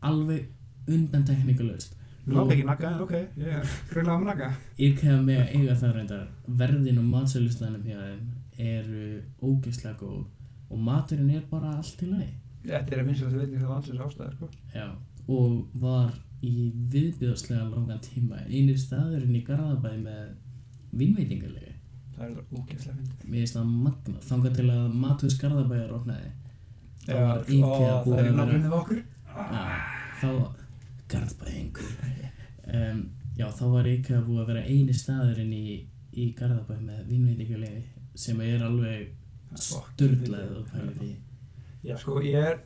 [SPEAKER 1] Alveg undan teknikalöst.
[SPEAKER 2] Ná, ekki nagga, en ok, ég grunlega með nagga
[SPEAKER 1] IKEA með að eiga það reyndar. Verðin og matsölustæðinum hjá þeim eru ógeðslega góð og maturinn er bara allt í lagi.
[SPEAKER 2] Þetta er að finnst að það veitir það landsins ástæðir sko.
[SPEAKER 1] Já, og var í viðbjöðslega langan tíma einir staðurinn í Garðabæði með vinnveitingalegi.
[SPEAKER 2] Það er þetta ógeðslega fyndið
[SPEAKER 1] Mér finnst það magna, þangað til að Matus Garðabæjar opnaði. Það
[SPEAKER 2] Já,
[SPEAKER 1] var
[SPEAKER 2] ó,
[SPEAKER 1] IKEA búið að
[SPEAKER 2] Það er
[SPEAKER 1] vera-
[SPEAKER 2] náttúrulega við okkur
[SPEAKER 1] Já, Ah, þá Garðbæðingur um, Já, þá var IKEA búið að vera eini staðurinn í, í Garðabæð með vinnveitingalegi sem er alveg sturglað og pælir því
[SPEAKER 2] Já, sko, ég er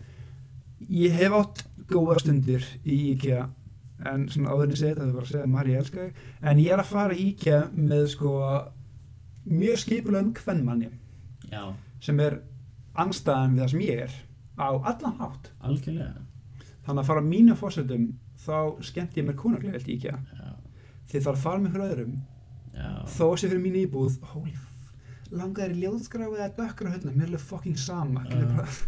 [SPEAKER 2] ég hef átt góða stundir í IKEA en svona áður en ég segi þetta, það er bara að segja Mari, ég elska þig en ég er að fara í IKEA með sko mjög skipulegum kvennmanni
[SPEAKER 1] Já,
[SPEAKER 2] sem er anstæðan við það sem ég er á allan hátt
[SPEAKER 1] algjörlega
[SPEAKER 2] þannig að fara á mínum fórsöldum þá skemmt ég mér konunglega í IKEA
[SPEAKER 1] Já,
[SPEAKER 2] því það er að fara með hverju öðrum
[SPEAKER 1] já,
[SPEAKER 2] þó sé fyrir mín íbúð holy f- langar í ljóðskráfi eða dökkra höllna, mér er alveg fucking sama uh.
[SPEAKER 1] Já.
[SPEAKER 2] bara,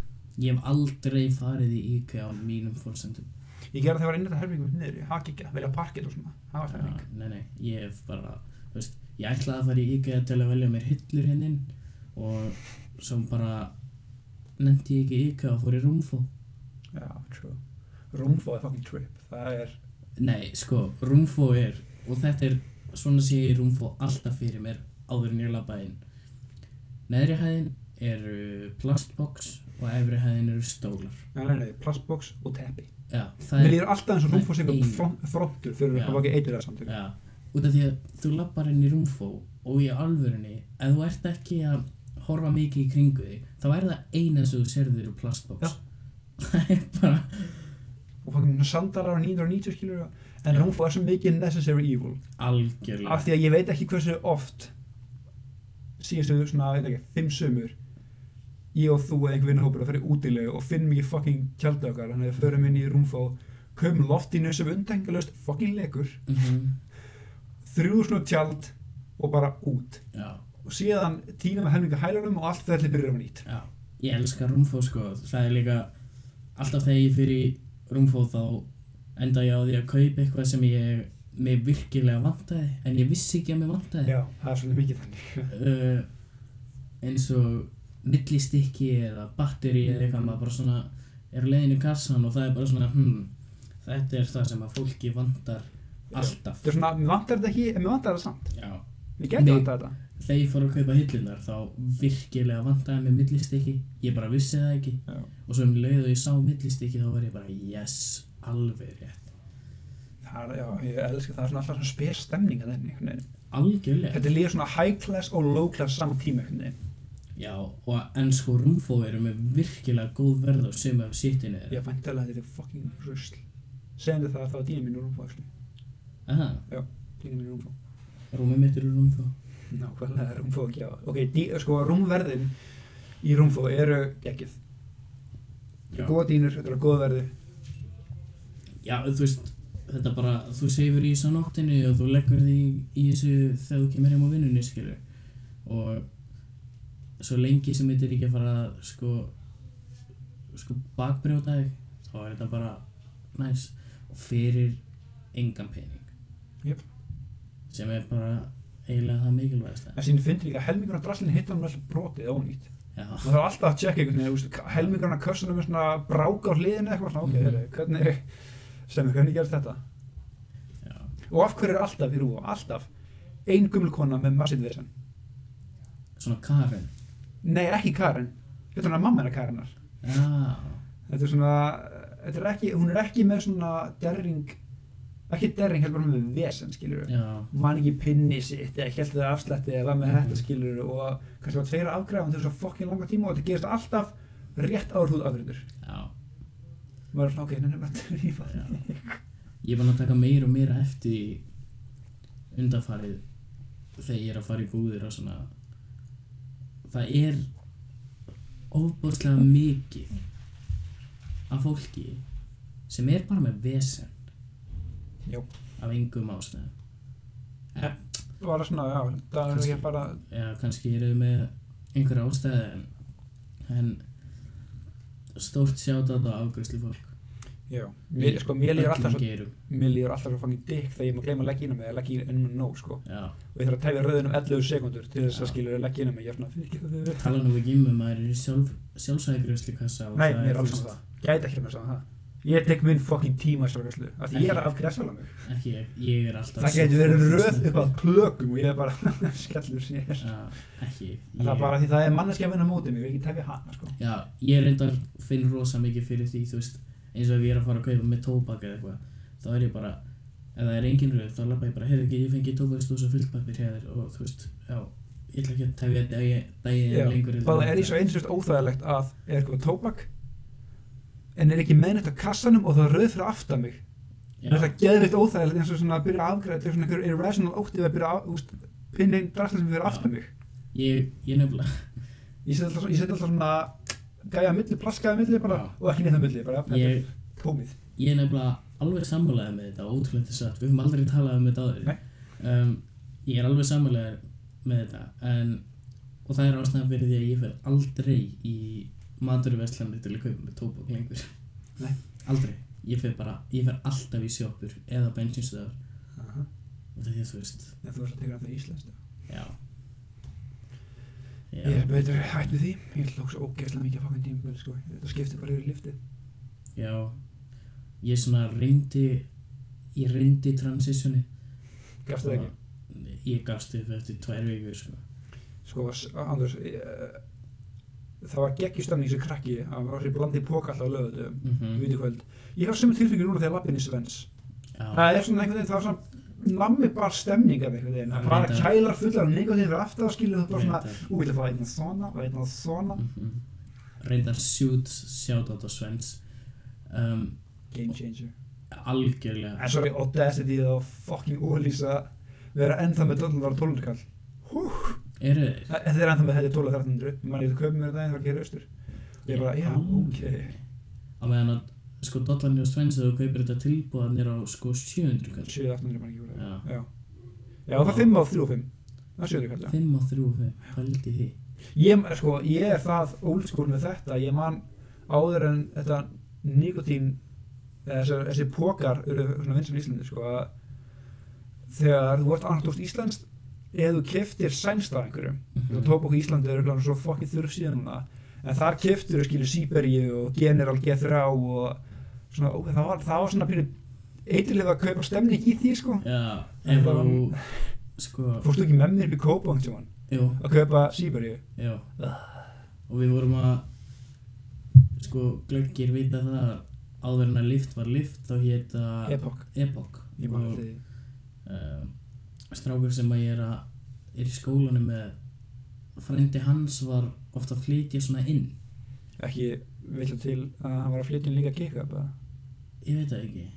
[SPEAKER 1] ég hef aldrei farið í IKEA á mínum fórsendum
[SPEAKER 2] Ég gerði það var einnig þetta herfingu mitt niður, ég haki ekki að velja parkir og svona,
[SPEAKER 1] Ah.
[SPEAKER 2] það var herfing.
[SPEAKER 1] Nei, nei, ég hef bara þú veist, ég ætlaði að fara í IKEA til að velja mér hillur hennin og svo bara nefndi ég ekki IKEA og fór í Rúmfó
[SPEAKER 2] Já, true. Rúmfó er fucking trip, það er,
[SPEAKER 1] Nei, sko, Rúmfó er og þetta er, svona sé ég Rúmfó alltaf fyrir mér áður en ég labba inn Neðri hæðin eru plastbox og efri hæðin eru stólar
[SPEAKER 2] nei, nei, nei, plastbox og teppi.
[SPEAKER 1] Já, það
[SPEAKER 2] Mér
[SPEAKER 1] er,
[SPEAKER 2] líður alltaf eins og
[SPEAKER 1] það er
[SPEAKER 2] rúmfó sem
[SPEAKER 1] ein.
[SPEAKER 2] einhver frontur fyrir
[SPEAKER 1] Já.
[SPEAKER 2] að hafa ekki eitir það samtök.
[SPEAKER 1] já, út af því að þú labbar inn í Rúmfó og í alvörunni ef þú ert ekki að horfa mikið í kringu því þá er það eina sem þú serðir úr plastbox
[SPEAKER 2] Já.
[SPEAKER 1] Það er bara
[SPEAKER 2] Og fucking sandarar og 990 skilur það, en
[SPEAKER 1] Já.
[SPEAKER 2] rúmfó er svo mikið necessary evil.
[SPEAKER 1] algjörlega
[SPEAKER 2] Af því að ég veit ekki hversu oft, síðustu svona, veit ekki, fimm sömur, ég og þú eða einhver vinnahópur að fyrir útilegu og finnum ekki fucking tjaldið okkar, þannig að við förum inn í rúmfó, kaum loftinu sem undengalust fucking legur,
[SPEAKER 1] Mhm,
[SPEAKER 2] þrjú svona tjald og bara út
[SPEAKER 1] Já
[SPEAKER 2] og síðan týna með helminga hælunum og allt ferli byrjar á nýtt
[SPEAKER 1] Já, ég elska rúmfó sko Það er líka Alltaf þegar ég fyrir rúmfó þá Enda ég á því að kaupa eitthvað sem ég Mér virkilega vantaði En ég vissi ekki að mér vantaði
[SPEAKER 2] Já, það er svolítið mikið þannig
[SPEAKER 1] uh, Eins og Millistykki eða batteri Eða eitthvað maður bara svona Er á leiðin í kassan og það er bara svona hmm, Þetta er það sem að fólki vantar Alltaf
[SPEAKER 2] Þetta er svona, mér vantar þetta ekki, en mér vantar þetta samt
[SPEAKER 1] Já
[SPEAKER 2] Mér getur
[SPEAKER 1] Nei.
[SPEAKER 2] vantað þetta
[SPEAKER 1] Þegar ég fór að kaupa hillunar þá virkilega vantaði mér millistykki Ég bara vissi það ekki
[SPEAKER 2] Já.
[SPEAKER 1] Og svo um leið og ég sá millistykki þá var ég bara Yes, alveg rétt
[SPEAKER 2] Það er, já, ég elska það, það er svona alltaf svona spes stemning að þenni einhvern veginn.
[SPEAKER 1] Algjörlega
[SPEAKER 2] Þetta líður svona high class og low class saman tíma einhvern veginn.
[SPEAKER 1] Já, og en sko rúmfó eru með virkilega góð verð og sem af sittinu þeirra
[SPEAKER 2] Ég vantarlega þetta er fucking rusl Segðum þið það, það var dýna mín úr rúmfó actually.
[SPEAKER 1] Aha,
[SPEAKER 2] Dýna mín úr rúmfó
[SPEAKER 1] rúmið mitt eru rúmfó
[SPEAKER 2] Nákvæmlega rúmfó ekki á Ok, dý, sko, rúmverðin í rúmfó eru ekkið
[SPEAKER 1] Já.
[SPEAKER 2] Góða dýnur, þetta eru góða verði
[SPEAKER 1] Já, þú veist, þetta bara Þú seifur í þessu á nóttinni og þú leggur því í þessu þegar þú kemur heim á vinnunni skilur Og svo lengi sem þetta er ekki að fara að, sko sko bakbrjóta þig þá er þetta bara næs og fyrir engan pening
[SPEAKER 2] Jöp.
[SPEAKER 1] sem er bara eiginlega það mikilvægast
[SPEAKER 2] En síðan finnir líka að helmingurinn af draslinn hittar hann alltaf brotið ónýtt.
[SPEAKER 1] já,
[SPEAKER 2] Maður þarf alltaf að tjekka einhvern veginn, þú veist, helmingurinn af kössunum er svona brák á hliðinu eitthvað svona, ok,
[SPEAKER 1] Mhm.
[SPEAKER 2] mm hvernig, sem hvernig gerst þetta?
[SPEAKER 1] já,
[SPEAKER 2] Og af hverju er alltaf í rúfa, alltaf, ein guml kona með massið vesen?
[SPEAKER 1] svona Karen
[SPEAKER 2] Nei, ekki Karen, þetta er hann að mamma hennar Karenar.
[SPEAKER 1] já,
[SPEAKER 2] Þetta er svona, þetta er ekki, hún er ekki með svona derring, ekki derring, heldur bara með vesen, skilur við.
[SPEAKER 1] já,
[SPEAKER 2] Man ekki pinni sitt eða held það afslætti eða var með þetta skilur og kannski var tveira afgræðan til þess að fokkin langa tíma og þetta gerist alltaf rétt áður húð afgræður.
[SPEAKER 1] já
[SPEAKER 2] maður er svona ok, nefnum að rífa
[SPEAKER 1] Já. ég er búin að taka meira og meira eftir því undanfarið þegar ég er að fara í búðir og svona það er ofbúrslega mikið af fólki sem er bara með vesen
[SPEAKER 2] Jó.
[SPEAKER 1] af engum ástæðum
[SPEAKER 2] Ja. Bara svona, já, það er
[SPEAKER 1] Kannski.
[SPEAKER 2] ekki bara
[SPEAKER 1] Já, kannski eru þau með einhverja ástæði en, en stórt sjátátt á afgjörslu fólk
[SPEAKER 2] Já, mér, sko, mér líður alltaf svo
[SPEAKER 1] geirum.
[SPEAKER 2] Mér líður alltaf svo fangin dykk þegar ég má gleyma að leggja inn á mig eða leggja inn inn á nóg, sko
[SPEAKER 1] Já,
[SPEAKER 2] og ég þarf að tefja rauðin um 11 sekundur til þess að
[SPEAKER 1] Já.
[SPEAKER 2] skilur að leggja inn á mig ég er svona fyrir
[SPEAKER 1] tala nú ekki um að maður er í sjálf, sjálfsæðgjörslu kassa og
[SPEAKER 2] Nei,
[SPEAKER 1] það
[SPEAKER 2] mér er alls
[SPEAKER 1] fyrst-
[SPEAKER 2] saman það Gæti ekki með saman það Ég tek minn fucking tíma sjálfgæslu Af því ég er að afgreða sjálf mig
[SPEAKER 1] Ekki, ég, ég er alltaf
[SPEAKER 2] Það gæti verið röð upp að klökum og ég er bara skellur sér
[SPEAKER 1] Já, ekki ég,
[SPEAKER 2] Það er bara því það er manneskja að vinna á móti mig, ég vil ekki tefja hana sko
[SPEAKER 1] Já, ég reyndar finn rosa mikið fyrir því, þú veist eins og ef ég er að fara að kaupa með tóbak eða eitthvað þá er ég bara, ef það er engin röð þá lappa ég bara, heyrðu ekki, ég fengi tóbakstús og fullpapir hér og þú veist, já ég ætla ekki að tefja dagi- daginn
[SPEAKER 2] Já,
[SPEAKER 1] lengur eða
[SPEAKER 2] Það er í svo einsvist óþægilegt að er eitthvað tóbak en er ekki meðnætt á kassanum og það er röð fyrir aftan mig
[SPEAKER 1] Já.
[SPEAKER 2] Það er það geðvitt óþægilegt eins og svona að byrja að afgræða til svona einhver irrational ótti við að byrja að úst, pinna einn drastin sem fyrir
[SPEAKER 1] Já.
[SPEAKER 2] aftan mig
[SPEAKER 1] Ég, ég nefnilega
[SPEAKER 2] Ég set alltaf, ég set alltaf svona gæja að milli, plaskaða að milli bara
[SPEAKER 1] Já.
[SPEAKER 2] og ekki neitt að milli, bara jafn,
[SPEAKER 1] ég,
[SPEAKER 2] tómið
[SPEAKER 1] ég er nefnilega alveg sammálaðið með þetta ótrúlega þess að við höfum aldrei talað um þetta
[SPEAKER 2] Nei.
[SPEAKER 1] áður um, ég er alveg sammálaðið með þetta en, og það er ástæðan fyrir því að ég fer aldrei í maturveslanir til að kaupa með tóbak lengur
[SPEAKER 2] Nei.
[SPEAKER 1] aldrei ég fer bara, ég fer alltaf í sjópur eða bensinstöðar
[SPEAKER 2] Aha.
[SPEAKER 1] og það er þú veist
[SPEAKER 2] En þú veist að teka það íslenskt
[SPEAKER 1] já já,
[SPEAKER 2] Ég er betur hætt við því, ég hlók svo ógeðslega mikið að fangin tíma sko. Þetta skiptir bara yfir liftið
[SPEAKER 1] já. ég svona reyndi ég reyndi transitioni
[SPEAKER 2] Gafstu það ekki?
[SPEAKER 1] Ég gafst upp eftir tvær vikur sko.
[SPEAKER 2] Sko, s- Anders ég, eh, Það var geggjustamning sem krakki að var sér blandið póka alltaf á lögutum
[SPEAKER 1] mm
[SPEAKER 2] mm. kvöld. Ég hef sömu tilfengi núna þegar lappinni Svens
[SPEAKER 1] Já,
[SPEAKER 2] Það er svona einhvern veginn, það var svona nammi bara stemning af einhvern veginn,
[SPEAKER 1] Já,
[SPEAKER 2] það bara
[SPEAKER 1] reyndar.
[SPEAKER 2] kælar fullar um einhvern veginn fyrir aftan og skilur þú bara svona,
[SPEAKER 1] reyndar.
[SPEAKER 2] ú, ég ætla að fá einna svona og einna svona,
[SPEAKER 1] Mhm. Reyndar sjút sjátátt á Svens um,
[SPEAKER 2] game changer.
[SPEAKER 1] Algjörlega
[SPEAKER 2] En sorry, Audacity og fucking ólýsa vera ennþá með 1200 kall.
[SPEAKER 1] Eru þeir?
[SPEAKER 2] Það þetta er eh, ennþá með þetta 1200, mann ég köpum mér þetta einn þegar ég er austur. Ég bara, já, ok,
[SPEAKER 1] Á meðan að sko dollarni á Svens eða þú kaupir þetta tilbúðanir á sko 700 kall
[SPEAKER 2] 700 mann ekki úr
[SPEAKER 1] Já.
[SPEAKER 2] það. Já. Já, það er 5 á 3 og 5. Það er 700 kall, já.
[SPEAKER 1] 5 og 3 og 5, hældi því
[SPEAKER 2] Ég, sko, ég er það old school með þetta, ég man áður en þetta nikotín, eða þessi, þessi pókar eru svona vinsum í Íslandi, sko, að þegar þú ert annaðtóft íslenskt, eða þú keftir sænst af einhverjum, þú tók okkur Íslandi eru svona svo fokkið þurr síðan núna, en þar keftir þú skilur Sýberíu og General G3 og svona, ó, það var, það var svona pínu eitthvað að kaupa stemning í því, sko.
[SPEAKER 1] Já, ef
[SPEAKER 2] Bara-
[SPEAKER 1] þú sko,
[SPEAKER 2] Fórstu ekki með mér upp í Kópang, sem hann,
[SPEAKER 1] jú,
[SPEAKER 2] að kaupa Sýberíu?
[SPEAKER 1] jú Og við vorum að sko, glöggir vita það að áður en að lift var lift þá hétt að
[SPEAKER 2] Epoch,
[SPEAKER 1] Epoch
[SPEAKER 2] ég man
[SPEAKER 1] og
[SPEAKER 2] eftir því.
[SPEAKER 1] uh, strákur sem að ég er, að er í skólanum með frendi hans var ofta að flytja svona inn
[SPEAKER 2] ekki vilja til að hann var að flytja inn líka kikka bara.
[SPEAKER 1] ég veit það ekki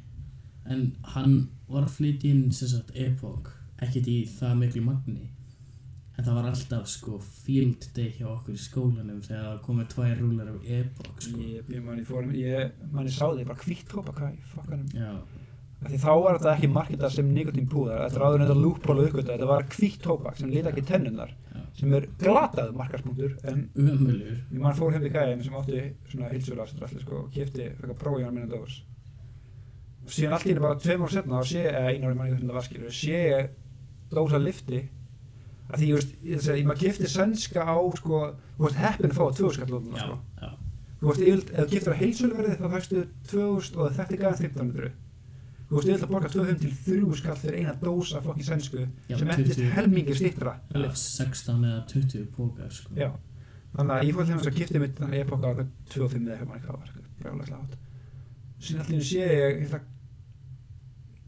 [SPEAKER 1] en hann var að flytja inn sem sagt epok, ekkert í það miklu magni en það var alltaf sko field day hjá okkur í skólanum þegar það komið tvær rúlar af epok sko.
[SPEAKER 2] Ég, ég manni fórum, ég manni sá því bara hvitt tópa hvað í fokkanum.
[SPEAKER 1] já,
[SPEAKER 2] Af Því þá var þetta ekki marketað sem nikotín púðar, þetta er áður en þetta lúkbóla uppgötta, þetta var hvitt tópa sem lita ekki tennunar,
[SPEAKER 1] Já.
[SPEAKER 2] sem er glataðu markarspunktur, en
[SPEAKER 1] ömulur
[SPEAKER 2] ég mann fór hefði gæðin sem átti svona hilsurlastur sko, og kefti eitthvað prófið hann minna dós. Og síðan allt í henni bara tveim ára setna, þá sé, eða einu ári manni hvernig það var skilur, sé ég dósa lifti að því, ég veist, ég, þess að ég maður gifti sænska á, sko, þú veist, heppin að fá tvöskallóðuna,
[SPEAKER 1] já,
[SPEAKER 2] sko.
[SPEAKER 1] já,
[SPEAKER 2] Þú veist, yfirleitt, ef þú giftir á heilsöluverði þá fæstu 2000 og þetta er gæðan 1500. Þú veist, yfirleitt að borga 200 til 3 skall fyrir eina dósa fokkin sænsku
[SPEAKER 1] já
[SPEAKER 2] sem endist
[SPEAKER 1] 20,
[SPEAKER 2] helmingi stittra.
[SPEAKER 1] já, 16 eða 20 pókar sko.
[SPEAKER 2] Já. Þannig að ég fór til þess að gifti mitt þannig að ég bóka á eitthvað 25 eða eitthvað mann eitthvað var eitthvað brjálega slátt. Síðan allir sé ég, ég ætla,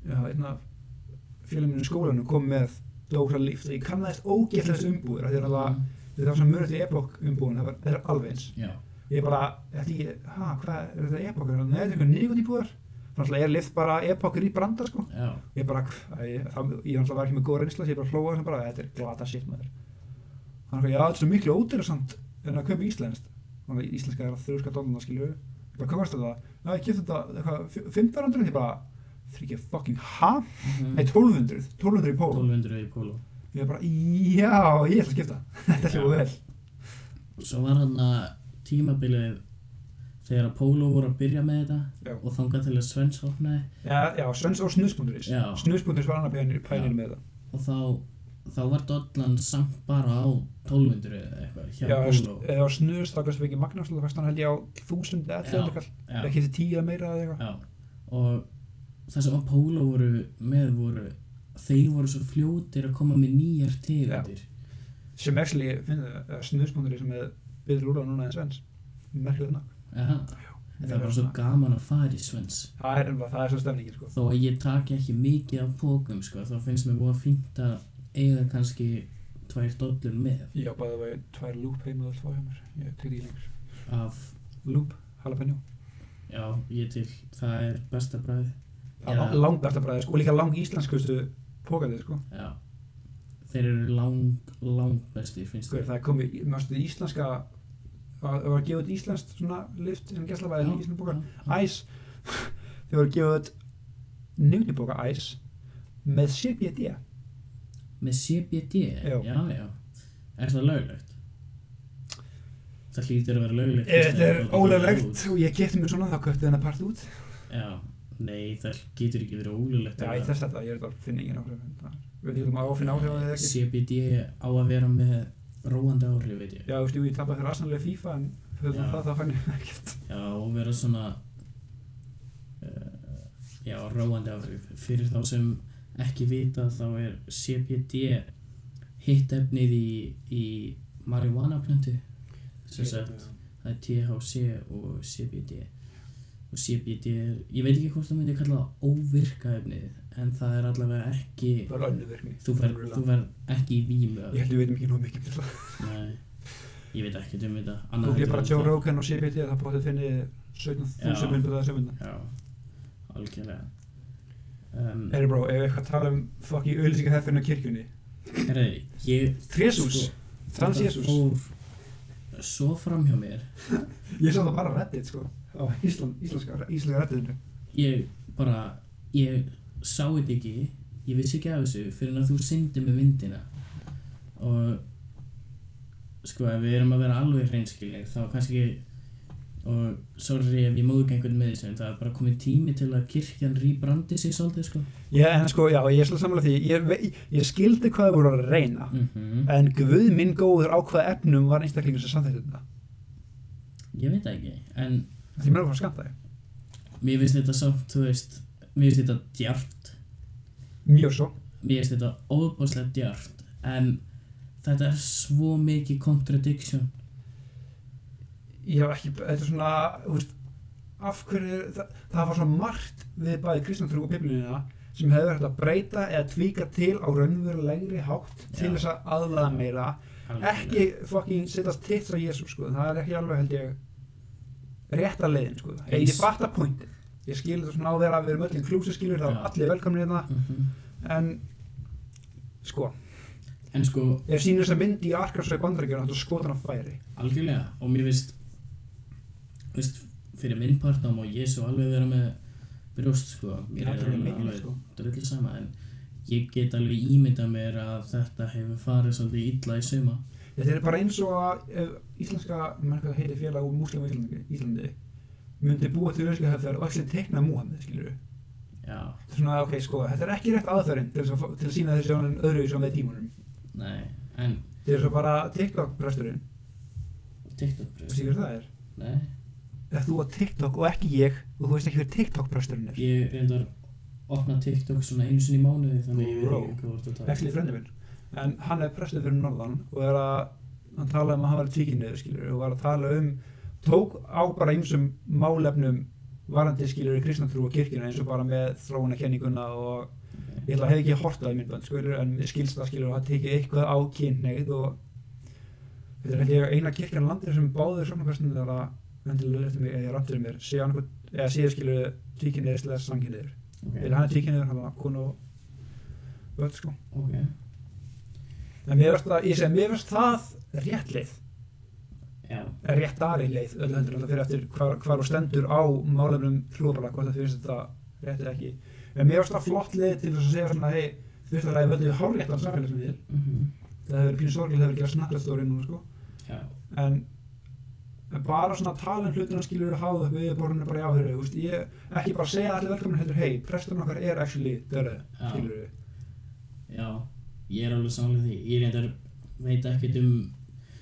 [SPEAKER 2] já, einn af félagum mínum í skólanum kom með dósa líft og ég kannaðist ógætlega þessu umbúðir af því að það var- þetta var svona mörg til epok umbúðin, það var, það er alveg eins
[SPEAKER 1] já,
[SPEAKER 2] ég bara, þetta ég, hæ, hvað er þetta epokar, nei, þetta er eitthvað nikotíbúðar þannig að ég lift bara epokar í branda sko.
[SPEAKER 1] já,
[SPEAKER 2] ég bara, æ, ég náttúrulega var ekki með góð reynsla, ég bara hlóa þessum bara, þetta er glata shit maður þannig að já, þetta er svo miklu ódýrasamt en að kaupa íslenskt þannig að íslenska er að þrjúska dóluna skilju ég bara, hvað varst þetta, já, ég kipti þetta eitthvað 500, ég bara þryggja fucking ha?
[SPEAKER 1] Mhm.
[SPEAKER 2] Nei, 1200, 1200 í póló
[SPEAKER 1] 1200 í póló
[SPEAKER 2] Ég er bara, já, ég ætla að skipta Þetta er hljóð vel
[SPEAKER 1] Svo var hann að tímabilið þegar að Pólo voru að byrja með þetta
[SPEAKER 2] Já.
[SPEAKER 1] og þangað til að Svens opnaði
[SPEAKER 2] Já, já Svens og Snusbúnduris
[SPEAKER 1] Já.
[SPEAKER 2] Snusbúnduris var hann að pænir, pænir með það
[SPEAKER 1] og þá þá var dollan samt bara á 1200 eða eitthvað hjá
[SPEAKER 2] Já,
[SPEAKER 1] Pólo
[SPEAKER 2] st- eða á Snus, þá kannski fengið Magnús þá fæst hann held ég á 1000 eða 1100 kall
[SPEAKER 1] já,
[SPEAKER 2] ekki eftir 10 eða meira eða eitthvað
[SPEAKER 1] já. og það sem að Pólo voru með voru þeir voru svo fljótir að koma með nýjar tegundir
[SPEAKER 2] sem actually, finnum það, Snusbúnduris með betri úrlega núna en Svens merkilega nafn
[SPEAKER 1] Aha. en það var svo gaman að fara í Svens
[SPEAKER 2] það er, nefnilega- það er svo stefningin sko
[SPEAKER 1] þó að ég taki ekki mikið af pókum sko, þá finnst mér búið að fínt að eiga kannski tvær dollur með
[SPEAKER 2] Já, bæðið var tvær lúp heim og það var hjá mér ég tek ekki lengur
[SPEAKER 1] af
[SPEAKER 2] lúp, jalapeno
[SPEAKER 1] Já, ég til, það er besta bræði
[SPEAKER 2] Það
[SPEAKER 1] Já.
[SPEAKER 2] er langt eftir bræði sko og líka lang íslenskustu pókandi sko
[SPEAKER 1] Já Þeir eru lang, lang besti, finnst
[SPEAKER 2] Hver,
[SPEAKER 1] þér
[SPEAKER 2] það er komið, mjögstu íslenska það var gefið út íslenskt svona lift sem gæslavæði í íslensku bóka
[SPEAKER 1] já,
[SPEAKER 2] Æs, þau voru gefið út nefnibóka Æs með CBD
[SPEAKER 1] Með CBD,
[SPEAKER 2] Já.
[SPEAKER 1] já, já Er það löglegt? Það hlýtur að vera löglegt fyrst
[SPEAKER 2] Eh, Þetta
[SPEAKER 1] að
[SPEAKER 2] er
[SPEAKER 1] það-
[SPEAKER 2] óleflegt og ég kefti mér svona þá köpti þennan part út
[SPEAKER 1] Já, nei, það getur ekki verið ólöglegt
[SPEAKER 2] Já, ég þess að það, ég er þetta að finna engin áhrif Við þurfum að áfinna áhrif að það ekki
[SPEAKER 1] CBD á að vera með róandi áhrif, veit ég
[SPEAKER 2] Já, þú veist, jú, ég tappa þér aðsanlega FIFA en höfum
[SPEAKER 1] Já.
[SPEAKER 2] það þá fann ég ekkert
[SPEAKER 1] Já, og vera svona uh, Já, róandi áhrif Fyrir þá sem ekki vita þá er CBD hittefnið í, í marihuana plöntu sem sagt, það er THC og CBD og CBD er, ég veit ekki hvort það myndi kalla það óvirka efnið en það er allavega ekki
[SPEAKER 2] Það er önnu virkni
[SPEAKER 1] þú verð, þú verð ekki í vímu af
[SPEAKER 2] Ég held við veitum ekki nóg mikið um það.
[SPEAKER 1] því. Nei, ég veit ekki um þetta
[SPEAKER 2] Þú
[SPEAKER 1] annað
[SPEAKER 2] er bara
[SPEAKER 1] heldur en
[SPEAKER 2] Joe
[SPEAKER 1] það-
[SPEAKER 2] Rogan og CBD það bóttið finnið 17.000
[SPEAKER 1] Já.
[SPEAKER 2] myndir það sem mynda
[SPEAKER 1] Já, algjörlega um,
[SPEAKER 2] Herri bró, ef við eitthvað tala um fokk í auðlýsingahefinu kirkjunni
[SPEAKER 1] Herri, ég Sko.
[SPEAKER 2] Trésús, trans
[SPEAKER 1] þetta
[SPEAKER 2] Jésús
[SPEAKER 1] fór svo fram hjá mér
[SPEAKER 2] Ég sá það bara á reddit sko á Ísland, íslenska, íslenska redditinu
[SPEAKER 1] ég bara ég sá þetta ekki ég vissi ekki af þessu fyrir að þú syndir með myndina og sko ef við erum að vera alveg hreinskilir þá kannski og sorry ef ég móðg einhvern með þessu en það er bara komið tími til að kirkjan rýbrandi sig svolítið sko
[SPEAKER 2] Já, en sko, já, ég er svolítið samanlega því ég, ve- ég skildi hvað það voru að reyna
[SPEAKER 1] mm
[SPEAKER 2] en guð minn góður á hvaða efnum var einstaklingur sem samþætti þetta
[SPEAKER 1] ég veit það ekki en
[SPEAKER 2] Því mér var hvað skamta þig
[SPEAKER 1] mér finnst þetta samt þú veist mér finnst þetta djart
[SPEAKER 2] Mjög svo
[SPEAKER 1] mér finnst þetta óbúslega djart en þetta er svo mikið contradiction
[SPEAKER 2] Ég hef ekki, þetta er svona, þú veist af hverju, það, það var svo margt við bæði kristnatrú og biblíuna sem hefur hægt að breyta eða tvíka til á raunverulegri hátt
[SPEAKER 1] Já.
[SPEAKER 2] til þess að aðlaða meira ekki fucking setjast titt á Jésu sko, það er ekki alveg held ég rétta leiðin sko ég, ég
[SPEAKER 1] Eins-
[SPEAKER 2] fatta pointin, ég skil þetta svona á þeirra við erum öll í klúsi skilur, það
[SPEAKER 1] Já.
[SPEAKER 2] er allir velkomni hérna,
[SPEAKER 1] mm
[SPEAKER 2] en sko,
[SPEAKER 1] en sko
[SPEAKER 2] ef sýnir þess að myndi í Arkarsvei bandarækjörn, þá skotar hann færi
[SPEAKER 1] algjörlega og mér finnst þú veist, fyrir minn part þá má ég svo alveg vera með brjóst sko mér er alveg, alveg sko. drullið sama en ég get alveg ímyndað mér að þetta hefur farið svolítið illa í suma
[SPEAKER 2] Þetta er bara eins og að ef íslenska, mann hvað það heitir félag úr múslima í Íslandi, Íslandi myndi búa til ösku hefðar og allir tekna Múhammed, skilur við.
[SPEAKER 1] já,
[SPEAKER 2] Svona, ok, sko, þetta er ekki rétt aðferðin til, þess að, fá- til að sína þessi sjónin öðru í svo með tímunum.
[SPEAKER 1] nei, en
[SPEAKER 2] Þetta er svo bara TikTok-presturinn,
[SPEAKER 1] TikTok brjóst,
[SPEAKER 2] veistu hver það er?
[SPEAKER 1] nei
[SPEAKER 2] Ef þú á TikTok og ekki ég og þú veist ekki hver TikTok-presturinn er.
[SPEAKER 1] ég reyndar opna TikTok svona einu sinni í mánuði þannig ég veit
[SPEAKER 2] Bro.
[SPEAKER 1] ekki um hvað þú ert að tala
[SPEAKER 2] Actually, frendi minn. En hann er prestur fyrir norðan og er að, hann talaði um að hann var tvíkinniður, skilur við, og var að tala um, tók á bara ýmsum málefnum varandi, skilur við, kristnatrú og kirkina eins og bara með þróunakenninguna og
[SPEAKER 1] um,
[SPEAKER 2] ég ætla að hef ekki hortað í myndband skilur, en mér skilst það skilur að það tekið eitthvað á kynneið og þetta er held ég eina kirkjan landir sem báður samanpersonum þegar að endilega leftum mig eða randir mér sé annað, eða séu skilur tvíkinneiður slega sanginniður
[SPEAKER 1] okay.
[SPEAKER 2] eða hann er tvíkinneiður, hann var konu og völd sko
[SPEAKER 1] ok,
[SPEAKER 2] en mér finnst það, ég segi, mér finnst það rétt leið
[SPEAKER 1] já,
[SPEAKER 2] réttari leið, öll heldur en það fyrir eftir hvar, hvar og stendur á málefnum trúabala hvort það finnst þetta rétt eða ekki en mér varst það flott leið til þess að segja svona hei, þú veist að það er völdu hárréttan samfélagsmiðil
[SPEAKER 1] Mhm.
[SPEAKER 2] það hefur verið pínu sorglega, það hefur ekki að snakka stóri núna sko
[SPEAKER 1] Já,
[SPEAKER 2] en, en bara svona tala um hlutina skilur að hafa upp við borðinu bara í áhverju veist, ég, ekki bara segja allir velkomin heldur hei, presturinn okkar er actually dörðu
[SPEAKER 1] Já.
[SPEAKER 2] skilur
[SPEAKER 1] já, ég er alveg sálið því. Ég reyndar veit ekkert um,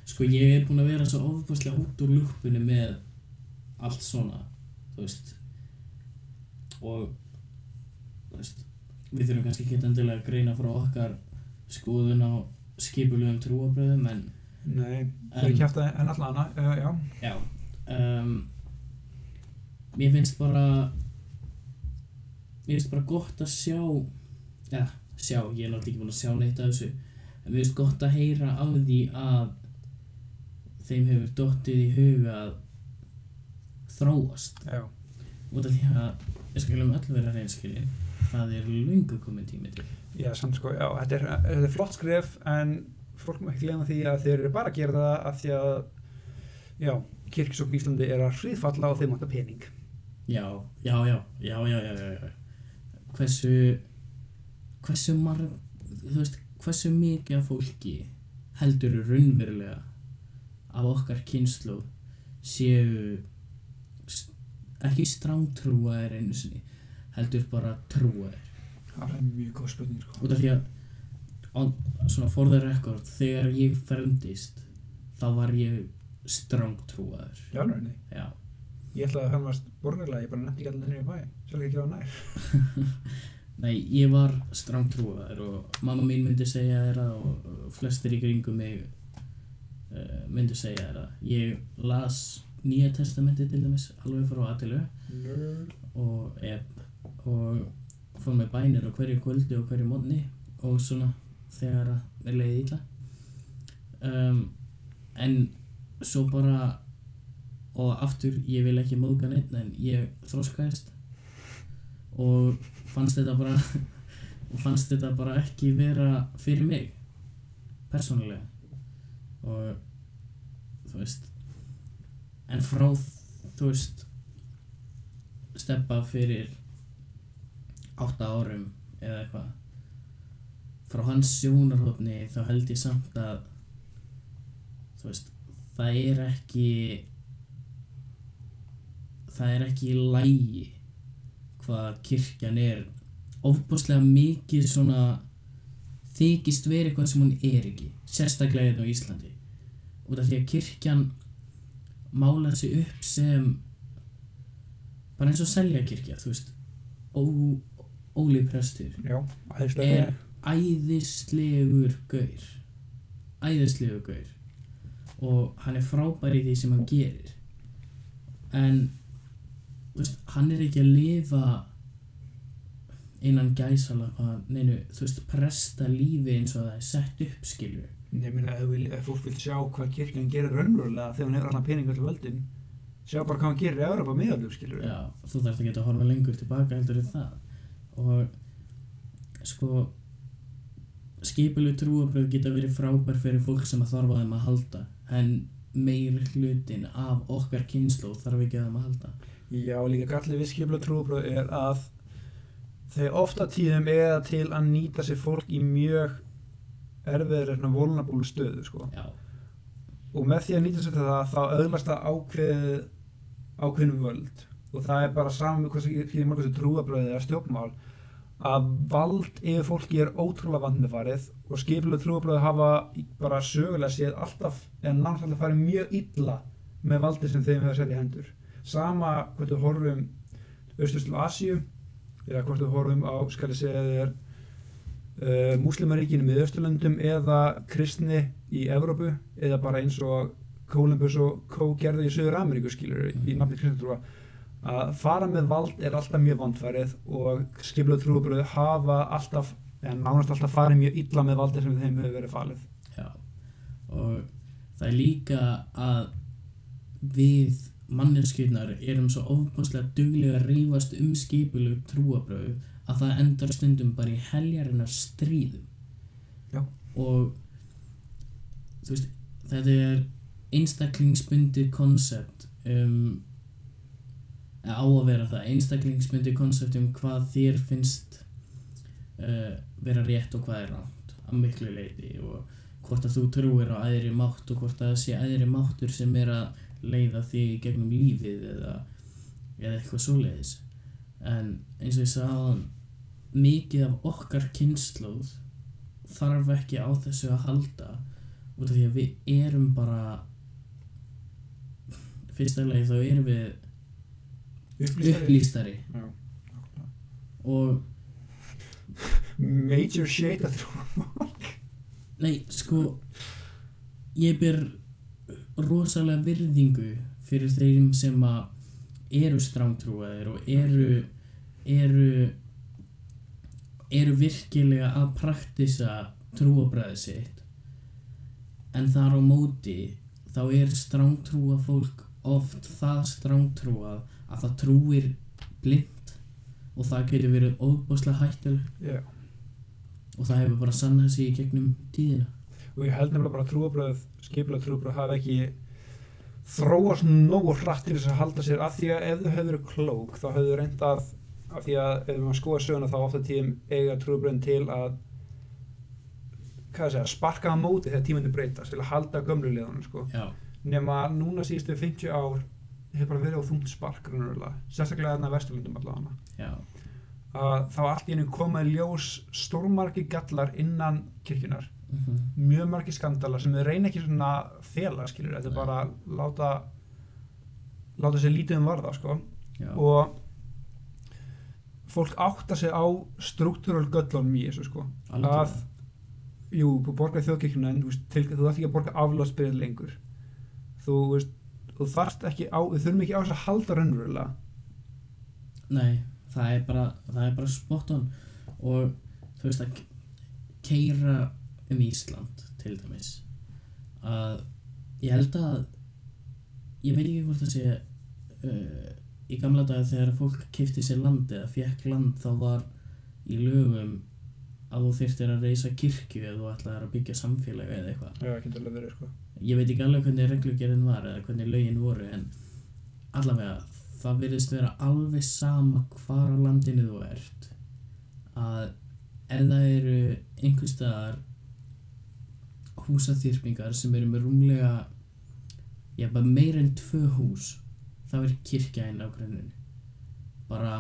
[SPEAKER 1] sko ég er búinn að vera svo ofbúslega út úr lúppunni með allt svona, þú veist. Og, þú veist, við þurfum kannski ekki endilega að greina frá okkar skoðun á skipulegum trúabröðum, en
[SPEAKER 2] nei, þau um, kæfta en allan hana uh, já,
[SPEAKER 1] Já um, Mér finnst bara Mér finnst bara gott að sjá Já, sjá, ég er náttúrulega ekki búin að sjá neitt af þessu En mér finnst gott að heyra af því að Þeim hefur dottið í huga að Þróast
[SPEAKER 2] já,
[SPEAKER 1] Út af því að Við skulum öll vera reynskilin Það er löngu komin tími til
[SPEAKER 2] já, samt sko já, þetta er, þetta er flott skref en fólk má ekki glemma því að þeir eru bara að gera það af því að já, kirkisókn í Íslandi er að hriðfalla og þeim vantar pening
[SPEAKER 1] Já, já, já, já, já, já, já, já. Hversu Hversu marg Þú veist, hversu mikið af fólki heldur raunverulega af okkar kynslu séu s- ekki strangtrúaðir einu sinni heldur bara trúaðir
[SPEAKER 2] það er mjög góð spurning sko
[SPEAKER 1] út af því að on, svona for the record þegar ég fermdist þá var ég strangtrúaður
[SPEAKER 2] já, alveg,
[SPEAKER 1] já
[SPEAKER 2] ég ætla að hann varst borgarlega, ég bara nefndi ekki allir nefnir í bæ sjálf ekki á nær
[SPEAKER 1] Nei, ég var strangtrúaður og mamma mín myndi segja þér það og og flestir í kringum mig uh, myndi segja þér það. Ég las Nýja testamenti til dæmis alveg frá aðtilu
[SPEAKER 2] Nerd.
[SPEAKER 1] og, eb, og fór með bænir á hverju kvöldi og hverju mótni og svona þegar að mér leiði illa um, en svo bara og aftur ég vil ekki móðga neitt en ég þroskaðist og fannst þetta bara og fannst þetta bara ekki vera fyrir mig persónulega og þú veist en frá þú veist steppa fyrir átta árum eða eitthvað frá hans sjónarhófni þá held ég samt að þú veist það er ekki það er ekki í lægi hvað kirkjan er ofbúslega mikið svona þykist verið eitthvað sem hún er ekki sérstaklega hérna á Íslandi út af því að kirkjan málar sig upp sem bara eins og selja kirkja þú veist Ó, Óli prestur
[SPEAKER 2] já, æðislega
[SPEAKER 1] er æðislegur gaur æðislegur gaur og hann er frábær í því sem hann gerir en þú veist, hann er ekki að lifa innan gæsalappa neinu, þú veist, presta lífi eins og það er sett upp skilur
[SPEAKER 2] Ég meina, ef, vil, ef fólk vil sjá hvað kirkjan gerir raunverulega þegar hún hefur allan pening öll völdin sjá bara hvað hún gerir í Europa miðalum, skilur við
[SPEAKER 1] Já, þú þarft ekki að horfa lengur tilbaka heldur en það og sko skipilug trúabröð geta verið frábær fyrir fólk sem að þarfa á þeim að halda en meir hlutin af okkar kynslu þarf ekki að þeim að halda
[SPEAKER 2] Já, líka gallið við skipla trúbröð er að þau ofta tíðum eða til að nýta sér fólk í mjög erfiðir svona volnabúlu stöðu, sko
[SPEAKER 1] Já,
[SPEAKER 2] og með því að nýta sér það þá öðlast það ákveð ákveðnum völd og það er bara saman með hversu fyrir mörg þessu trúabröð eða stjórnmál að vald yfir fólki er ótrúlega vandmefarið og skipulega trúabröð hafa í- bara sögulega séð alltaf en nánast alltaf farið mjög illa með valdi sem þeim hefur sett í hendur sama hvort við horfum austurstu Asíu eða hvort við horfum á skal ég segja þér uh, múslimaríkinu með Östurlöndum eða kristni í Evrópu eða bara eins og Columbus og Co. gerði í Suður Ameríku skilur í nafni kristnitrúa að fara með vald er alltaf mjög vandfærið og skiplega trúabröð hafa alltaf, en nánast alltaf farið mjög illa með valdi sem þeim hefur verið falið
[SPEAKER 1] já og það er líka að við manneskjurnar erum svo ofbáslega duglega að rífast um skipilug trúabröð að það endar stundum bara í heljarinnar stríðum
[SPEAKER 2] Já.
[SPEAKER 1] og þú veist þetta er einstaklingsbundið konsept um, eða á á að vera það einstaklingsmyndi koncept um hvað þér finnst uh, vera rétt og hvað er rátt að miklu leiti og hvort að þú trúir á aðri mátt og hvort að það sé aðri máttur sem er að leiða þig í gegnum lífið eða, eða eitthvað svoleiðis en eins og ég sagði mikið af okkar kynnslóð þarf ekki á þessu að halda út af því að við erum bara fyrst af leið þá erum við upplýstari
[SPEAKER 2] Já.
[SPEAKER 1] og
[SPEAKER 2] Major shit að trúa
[SPEAKER 1] nei sko ég ber rosalega virðingu fyrir þeim sem að eru strángtrúaðir og eru eru eru virkilega að praktisa trúabræði sitt en þar á móti þá er strángtrúa fólk oft það strángtrúað að það trúir blind og það getur verið óbúslega hættilegt
[SPEAKER 2] Já
[SPEAKER 1] og það hefur bara sannað sig í gegnum tíðina
[SPEAKER 2] og ég held nefnilega bara að trúabröð skipulega trúabröð hafa ekki þróast nógu hratt til þess að halda sér af því að ef þau hefur verið klók þá hefur þau reynd að af því að ef maður skoða söguna þá ofta tíðum eiga trúabröðin til að hvað að segja, sparka á móti þegar tímandi breytast til að halda gömlu liðanum sko
[SPEAKER 1] já,
[SPEAKER 2] nema að núna síðustu 50 ár hefur bara verið á þungt spark raunverulega. sérstaklega þarna vesturlundum allavega
[SPEAKER 1] já,
[SPEAKER 2] að þá allt í einu koma í ljós stórmarki gallar innan kirkjunar
[SPEAKER 1] uh
[SPEAKER 2] mjög margir skandala sem þau reyna ekki svona að fela skilur, þetta er
[SPEAKER 1] Nei.
[SPEAKER 2] bara að láta láta sér lítið um varða sko
[SPEAKER 1] já.
[SPEAKER 2] og fólk átta sig á struktúral göllunum í þessu sko
[SPEAKER 1] Algjörlega.
[SPEAKER 2] að jú, þú borgar þjóðkirkjuna en þú veist, til, þú þarft ekki að borga aflagsbyrð lengur þú veist þú þarft ekki á, við þurfum ekki á þess að halda raunverulega
[SPEAKER 1] nei, það er bara það er bara spot on og þú veist að keira um Ísland til dæmis að ég held að ég veit ekki hvort það sé uh, í gamla daga þegar fólk kifti sér land eða fekk land þá var í lögum að þú þyrftir að reysa kirkju eða þú ætlaðir að byggja samfélagi eða eitthvað
[SPEAKER 2] já, ekki til að vera sko
[SPEAKER 1] ég veit ekki alveg hvernig reglugerðin var eða hvernig lögin voru en allavega það virðist vera alveg sama hvar á landinu þú ert að ef það eru einhvers staðar húsaþyrpingar sem eru með rúmlega já, bara meir en tvö hús þá er kirkja inn á grunninu bara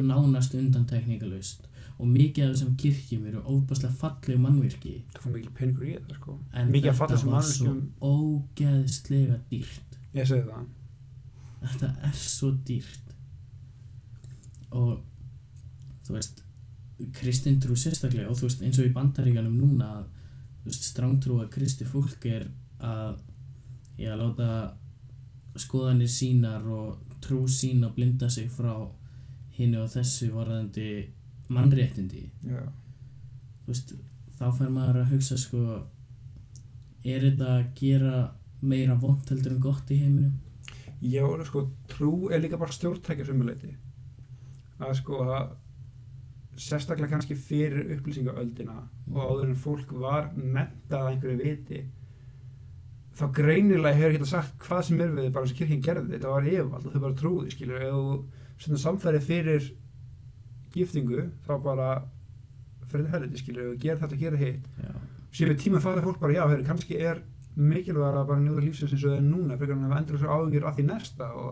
[SPEAKER 1] nánast undantekningalust og mikið af þessum kirkjum eru óbáslega falleg mannvirki
[SPEAKER 2] það fór mikil peningur í þetta sko
[SPEAKER 1] en
[SPEAKER 2] Mikið að fatta
[SPEAKER 1] þetta
[SPEAKER 2] sem
[SPEAKER 1] var svo
[SPEAKER 2] manneskjum-
[SPEAKER 1] ógeðslega dýrt
[SPEAKER 2] ég segi það
[SPEAKER 1] þetta er svo dýrt og þú veist kristin trú sérstaklega og þú veist eins og í bandaríkanum núna að, þú veist strangtrú að kristi fólk er að ég að láta skoðanir sínar og trú sín að blinda sig frá hinu og þessu varðandi mannréttindi
[SPEAKER 2] já,
[SPEAKER 1] þú veist, þá fær maður að hugsa sko er þetta að gera meira vond heldur en gott í heiminum
[SPEAKER 2] Já, sko, trú er líka bara stjórntækja sumuleiti að sko að sérstaklega kannski fyrir upplýsingaöldina
[SPEAKER 1] Mm.
[SPEAKER 2] og áður en fólk var mentað að einhverju viti þá greinilega hefur ekki sagt hvað sem er við þig, bara eins og kirkinn gerði þetta var yfirvald og þau bara trúði skilur ef þú svona samfæri fyrir giftingu þá bara fyrir helviti skilur ef þú gerir þetta að gera hitt
[SPEAKER 1] já,
[SPEAKER 2] síðan við tíma fara fólk bara já, hefur, kannski er mikilvægur að bara njóta lífsins eins og það er núna frekar en að endur þessu áhugjur að því næsta og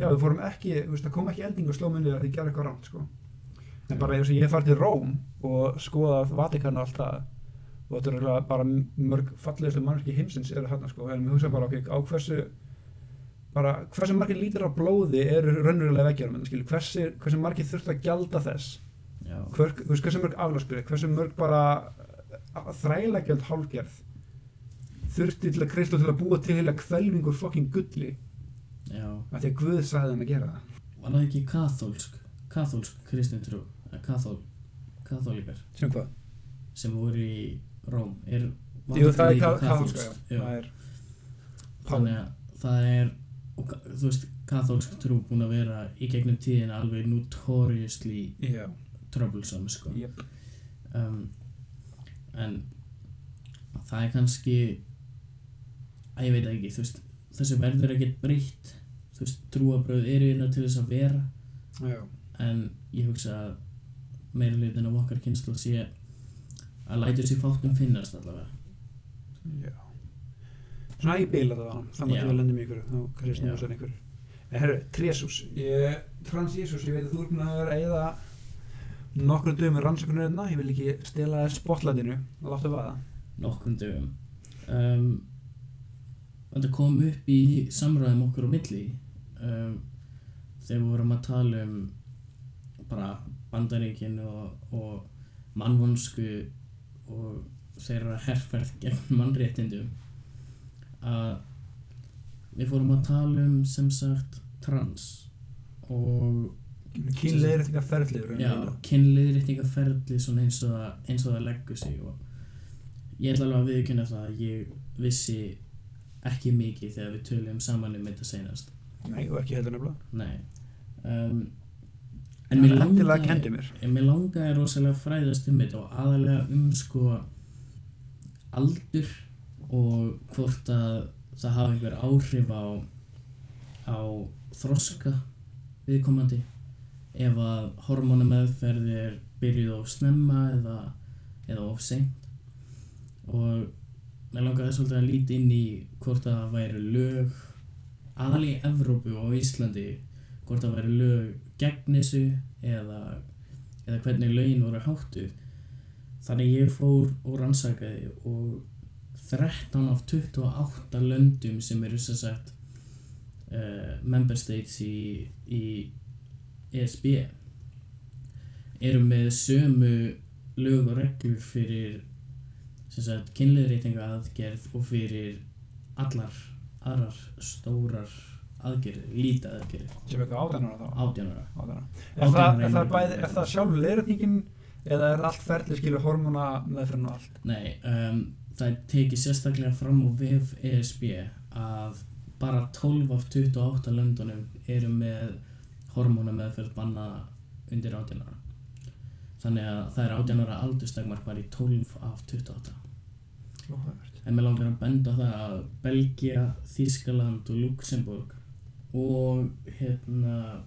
[SPEAKER 2] já, við fórum ekki, þú veist, það kom ekki elding og sló munni að þið gera eitthvað rámt, sko en bara eins og ég fær til Róm og skoða Vatikan og allt það og þetta er örugglega bara mörg fallegustu mannski heimsins eru þarna, sko en við hugsa bara, ok, á hversu bara, hversu margir lítir af blóði eru raunverulega veggjörum, skilur, hversu, hversu margir þurft að gjalda þess
[SPEAKER 1] já,
[SPEAKER 2] hver, þú veist, hversu mörg aflagsbyrði, hversu mörg bara uh, þrælægjöld hálfgerð þurfti til að kreisla til að búa til heila kvelvingur fucking gulli
[SPEAKER 1] já
[SPEAKER 2] af því að Guð sagði hann að gera það
[SPEAKER 1] var það ekki kathólsk kathólsk kristin trú eða kathól, kathólikar
[SPEAKER 2] sem hvað?
[SPEAKER 1] sem voru í Róm er, var
[SPEAKER 2] Jú,
[SPEAKER 1] ekki
[SPEAKER 2] það er
[SPEAKER 1] líka
[SPEAKER 2] ka- kaþólska,
[SPEAKER 1] kaþólskt?
[SPEAKER 2] já það er
[SPEAKER 1] þannig að það er og, ka- þú veist, kathólsk trú búin að vera í gegnum tíðina alveg notoriously
[SPEAKER 2] já,
[SPEAKER 1] troublesome sko
[SPEAKER 2] jep
[SPEAKER 1] um, en það er kannski að ég veit það ekki þú veist, þessu verður ekkert breytt þú veist, trúabröð eru innan hérna til þess að vera
[SPEAKER 2] já,
[SPEAKER 1] en ég hugsa að meira hlutin af okkar kynslu sé að lætur sér fátum finnast allavega
[SPEAKER 2] já. Svona að ég bila það á hann, þannig
[SPEAKER 1] Já.
[SPEAKER 2] að við lendum í ykkur, þá kannski
[SPEAKER 1] Já.
[SPEAKER 2] snúið sér einhver. En herru, Trésús, ég, Trans Jésús, ég veit að þú er búin að vera að eyða nokkrum dögum með rannsökunarina, ég vil ekki stela þér spotlandinu og láta vaða.
[SPEAKER 1] nokkrum dögum um, þetta kom upp í samræðum okkur á milli um, þegar við vorum að tala um bara bandaríkin og, og mannvonsku og þeirra herrferð gegn mannréttindum að við fórum að tala um sem sagt trans og
[SPEAKER 2] Kynleir eftir eitthvað ferðlegur.
[SPEAKER 1] Já, kynliðréttingaferli svona eins og, það, eins og það leggur sig og ég ætla alveg að viðkynna það að ég vissi ekki mikið þegar við töluðum saman um þetta seinast
[SPEAKER 2] Nei, og ekki heldur nefnilega.
[SPEAKER 1] Nei um,
[SPEAKER 2] En
[SPEAKER 1] mig
[SPEAKER 2] mér langar...
[SPEAKER 1] langaði-
[SPEAKER 2] kendi mér.
[SPEAKER 1] en mér langaði rosalega að fræðast um þetta og aðalega um sko aldur og hvort að það hafa einhver áhrif á, á þroska viðkomandi ef að hormonameðferð er byrjuð of snemma eða, eða of seint og mér langaði svolítið að líti inn í hvort að það væri lög aðal í Evrópu og á Íslandi hvort að væri lög gegn þessu eða eða hvernig lögin voru háttu þannig ég fór og rannsakaði og 13 af 28 löndum sem eru sem sagt uh, member states í, í ESB eru með sömu lög og reglur fyrir sem sagt kynliðreitinga aðgerð og fyrir allar aðrar stórar aðgerðir, lítið aðgerðir
[SPEAKER 2] Sem eitthvað átæðnara þá.
[SPEAKER 1] átjánara
[SPEAKER 2] Átæðnara. Er,
[SPEAKER 1] Átján
[SPEAKER 2] það-
[SPEAKER 1] ára
[SPEAKER 2] er, það
[SPEAKER 1] einhver-
[SPEAKER 2] bæði- er það sjálf leirningin eða er allt ferðlið skilur hormona meðferðin og allt?
[SPEAKER 1] Nei, um, það er tekið sérstaklega fram á VF ESB að bara 12 af 28 löndunum eru með hormónameðferð banna undir 18 ára. Þannig að það er 18 ára aldurstakmark bara í 12 af 28.
[SPEAKER 2] Lóðavert.
[SPEAKER 1] En mér langar að benda á það að Belgia, Þískaland og Luxemburg og hérna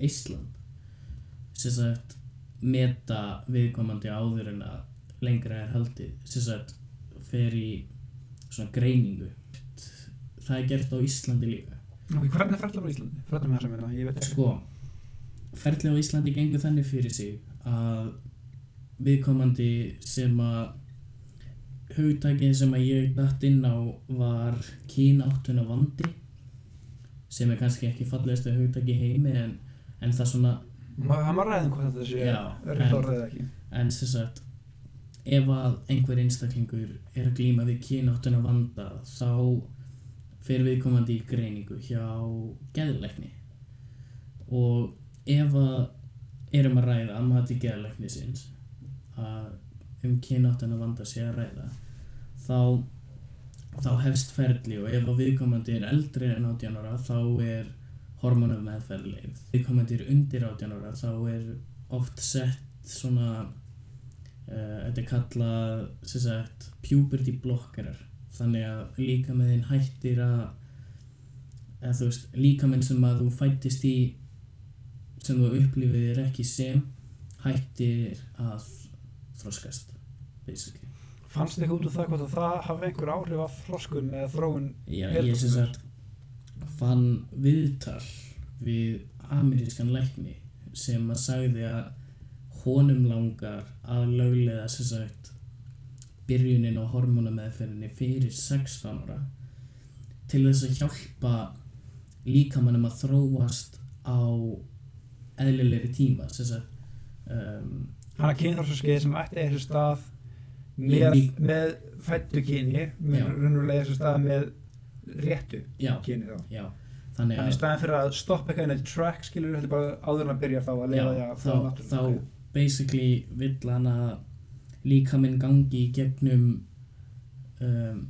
[SPEAKER 1] Ísland sem sagt meta viðkomandi áður en að lengra er haldið sem sagt fer í svona greiningu það er gert á Íslandi líka
[SPEAKER 2] Ok, hvernig er ferðlið á Íslandi? Ferðlið með það sem er það, ég veit ekki.
[SPEAKER 1] sko ferli á Íslandi gengur þannig fyrir sig að viðkomandi sem að hugtækið sem að ég dætt inn á var kínáttuna vandi sem er kannski ekki fallegastu hugtæki í heimi en, en það svona
[SPEAKER 2] Ma- Það má ræða um hvað þetta sé,
[SPEAKER 1] Já,
[SPEAKER 2] er rétt
[SPEAKER 1] en-
[SPEAKER 2] orðið eða ekki.
[SPEAKER 1] en sem sagt ef að einhver einstaklingur er að glýma við kynáttuna vanda þá fer viðkomandi í greiningu hjá geðleikni og ef að erum að ræða að mati geðleiknisins að um kynáttuna vanda sé að ræða þá, þá hefst ferli og ef að viðkomandi er eldri en 18 ára þá er hormonum meðferðleif viðkomandi er undir 18 ára þá er oft sett svona Eh, Þetta er kallað sem sagt, puberty blockerar þannig að líkaminn hættir að eða þú veist, líkaminn sem að þú fættist í sem þú upplifir ekki sem hættir að þroskast basically
[SPEAKER 2] Fannst þið ekki út úr það hvort að það hafi einhver áhrif á þroskun eða þróun?
[SPEAKER 1] Já,
[SPEAKER 2] Heyrðu
[SPEAKER 1] ég sem
[SPEAKER 2] mér.
[SPEAKER 1] sagt fann viðtal við amerískan lækni sem að sagði að honum langar að löglega sem sagt byrjunin á hormonameðferðinni fyrir 16 ára til þess að hjálpa líkamannum að þróast á eðlilegri tíma sem sagt um,
[SPEAKER 2] Hanna kynþrósaskeið sem ætti eða þessu stað
[SPEAKER 1] Í
[SPEAKER 2] með,
[SPEAKER 1] lík-
[SPEAKER 2] með fættu kyni,
[SPEAKER 1] Já.
[SPEAKER 2] með raunverulega þessu stað með réttu
[SPEAKER 1] já,
[SPEAKER 2] kyni þá.
[SPEAKER 1] já þannig
[SPEAKER 2] Þannig
[SPEAKER 1] að
[SPEAKER 2] í staðan fyrir að stoppa eitthvað inn í track skilur þetta bara áður en að byrja þá að
[SPEAKER 1] Já,
[SPEAKER 2] leifa því að
[SPEAKER 1] þá,
[SPEAKER 2] það náttúrulega.
[SPEAKER 1] þá basically vill hann að líkaminn gangi í gegnum um,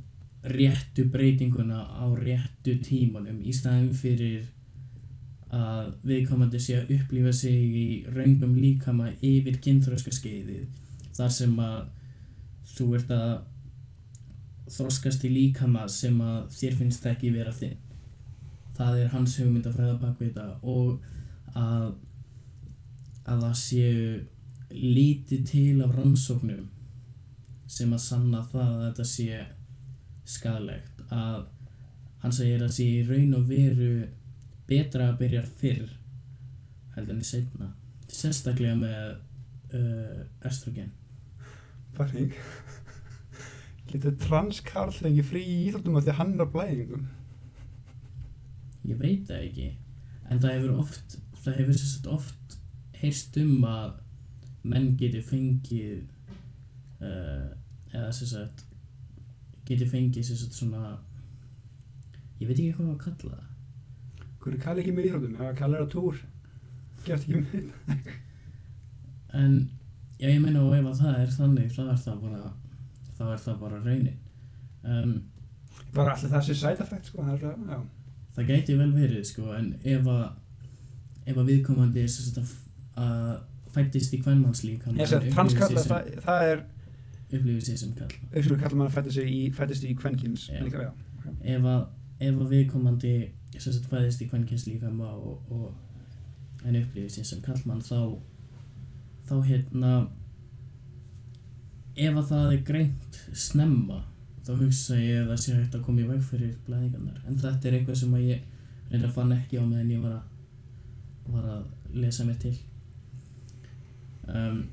[SPEAKER 1] réttu breytinguna á réttu tímanum í staðin fyrir að viðkomandi sé að upplifa sig í raungum líkama yfir kynþröska skeiðið þar sem að þú ert að þroskast í líkama sem að þér finnst ekki vera þinn það er hans hugmynd að fræða bak við þetta og að að það séu lítið til af rannsóknum sem að sanna það að þetta sé skadalegt að hann segir að sé í raun og veru betra að byrja fyrr heldur en setna sérstaklega með uh, estrogen
[SPEAKER 2] Færing Getur transkarl fengið frí í íþróttum af því að hann er á blæðingum?
[SPEAKER 1] ég veit það ekki en það hefur oft það hefur sérstaklega oft heyrst um að menn geti fengið uh, eða sérstaklega geti fengið sérstaklega svona ég veit ekki hvað á að kalla það
[SPEAKER 2] Hverju kallar ekki með íþróttum? Já, kallar það túr Gert ekki með
[SPEAKER 1] En já, ég meina og ef að það er þannig þá er það bara þá er það bara raunin um,
[SPEAKER 2] Bara alltaf það sé side effect sko það er það, já.
[SPEAKER 1] Það gæti vel verið sko en ef að ef að viðkomandi er sérst að, að fættist í kvennmannslík
[SPEAKER 2] Ég segi að transkallar það, það er
[SPEAKER 1] upplifir sér sem kall
[SPEAKER 2] auðvitað kallar mann að fættist í, fættist í kvenkins
[SPEAKER 1] Já.
[SPEAKER 2] líka, já.
[SPEAKER 1] ef að, ef að viðkomandi sérst fæðist í kvennkynslíkama og, og en upplifir sér sem kallmann þá þá hérna ef að það er greint snemma þá hugsa ég að það sé hægt að koma í veg fyrir blæðingarnar en þetta er eitthvað sem að ég reynda fann ekki á meðan ég var að var að lesa mér til um,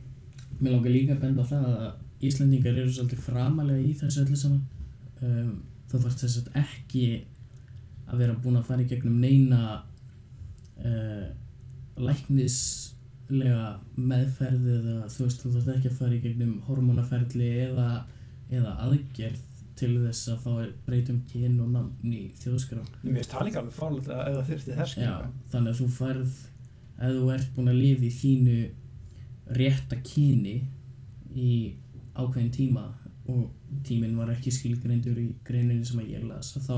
[SPEAKER 1] Mér langar líka að benda á það að Íslendingar eru svolítið framalega í þessu öllu saman um, þú þarf þess að ekki að vera búin að fara í gegnum neina uh, læknislega meðferð eða þú veist þú þarf ekki að fara í gegnum hormonaferli eða, eða aðgerð til þess að fá breytum kyn og namn í þjóðskrá
[SPEAKER 2] Mér finnst það líka alveg fálega að ef það þyrfti þess
[SPEAKER 1] Já,
[SPEAKER 2] sko.
[SPEAKER 1] þannig að þú færð ef þú ert búin að lifa í þínu rétta kyni í ákveðin tíma og tíminn var ekki skilgreindur í greininu sem að ég las þá,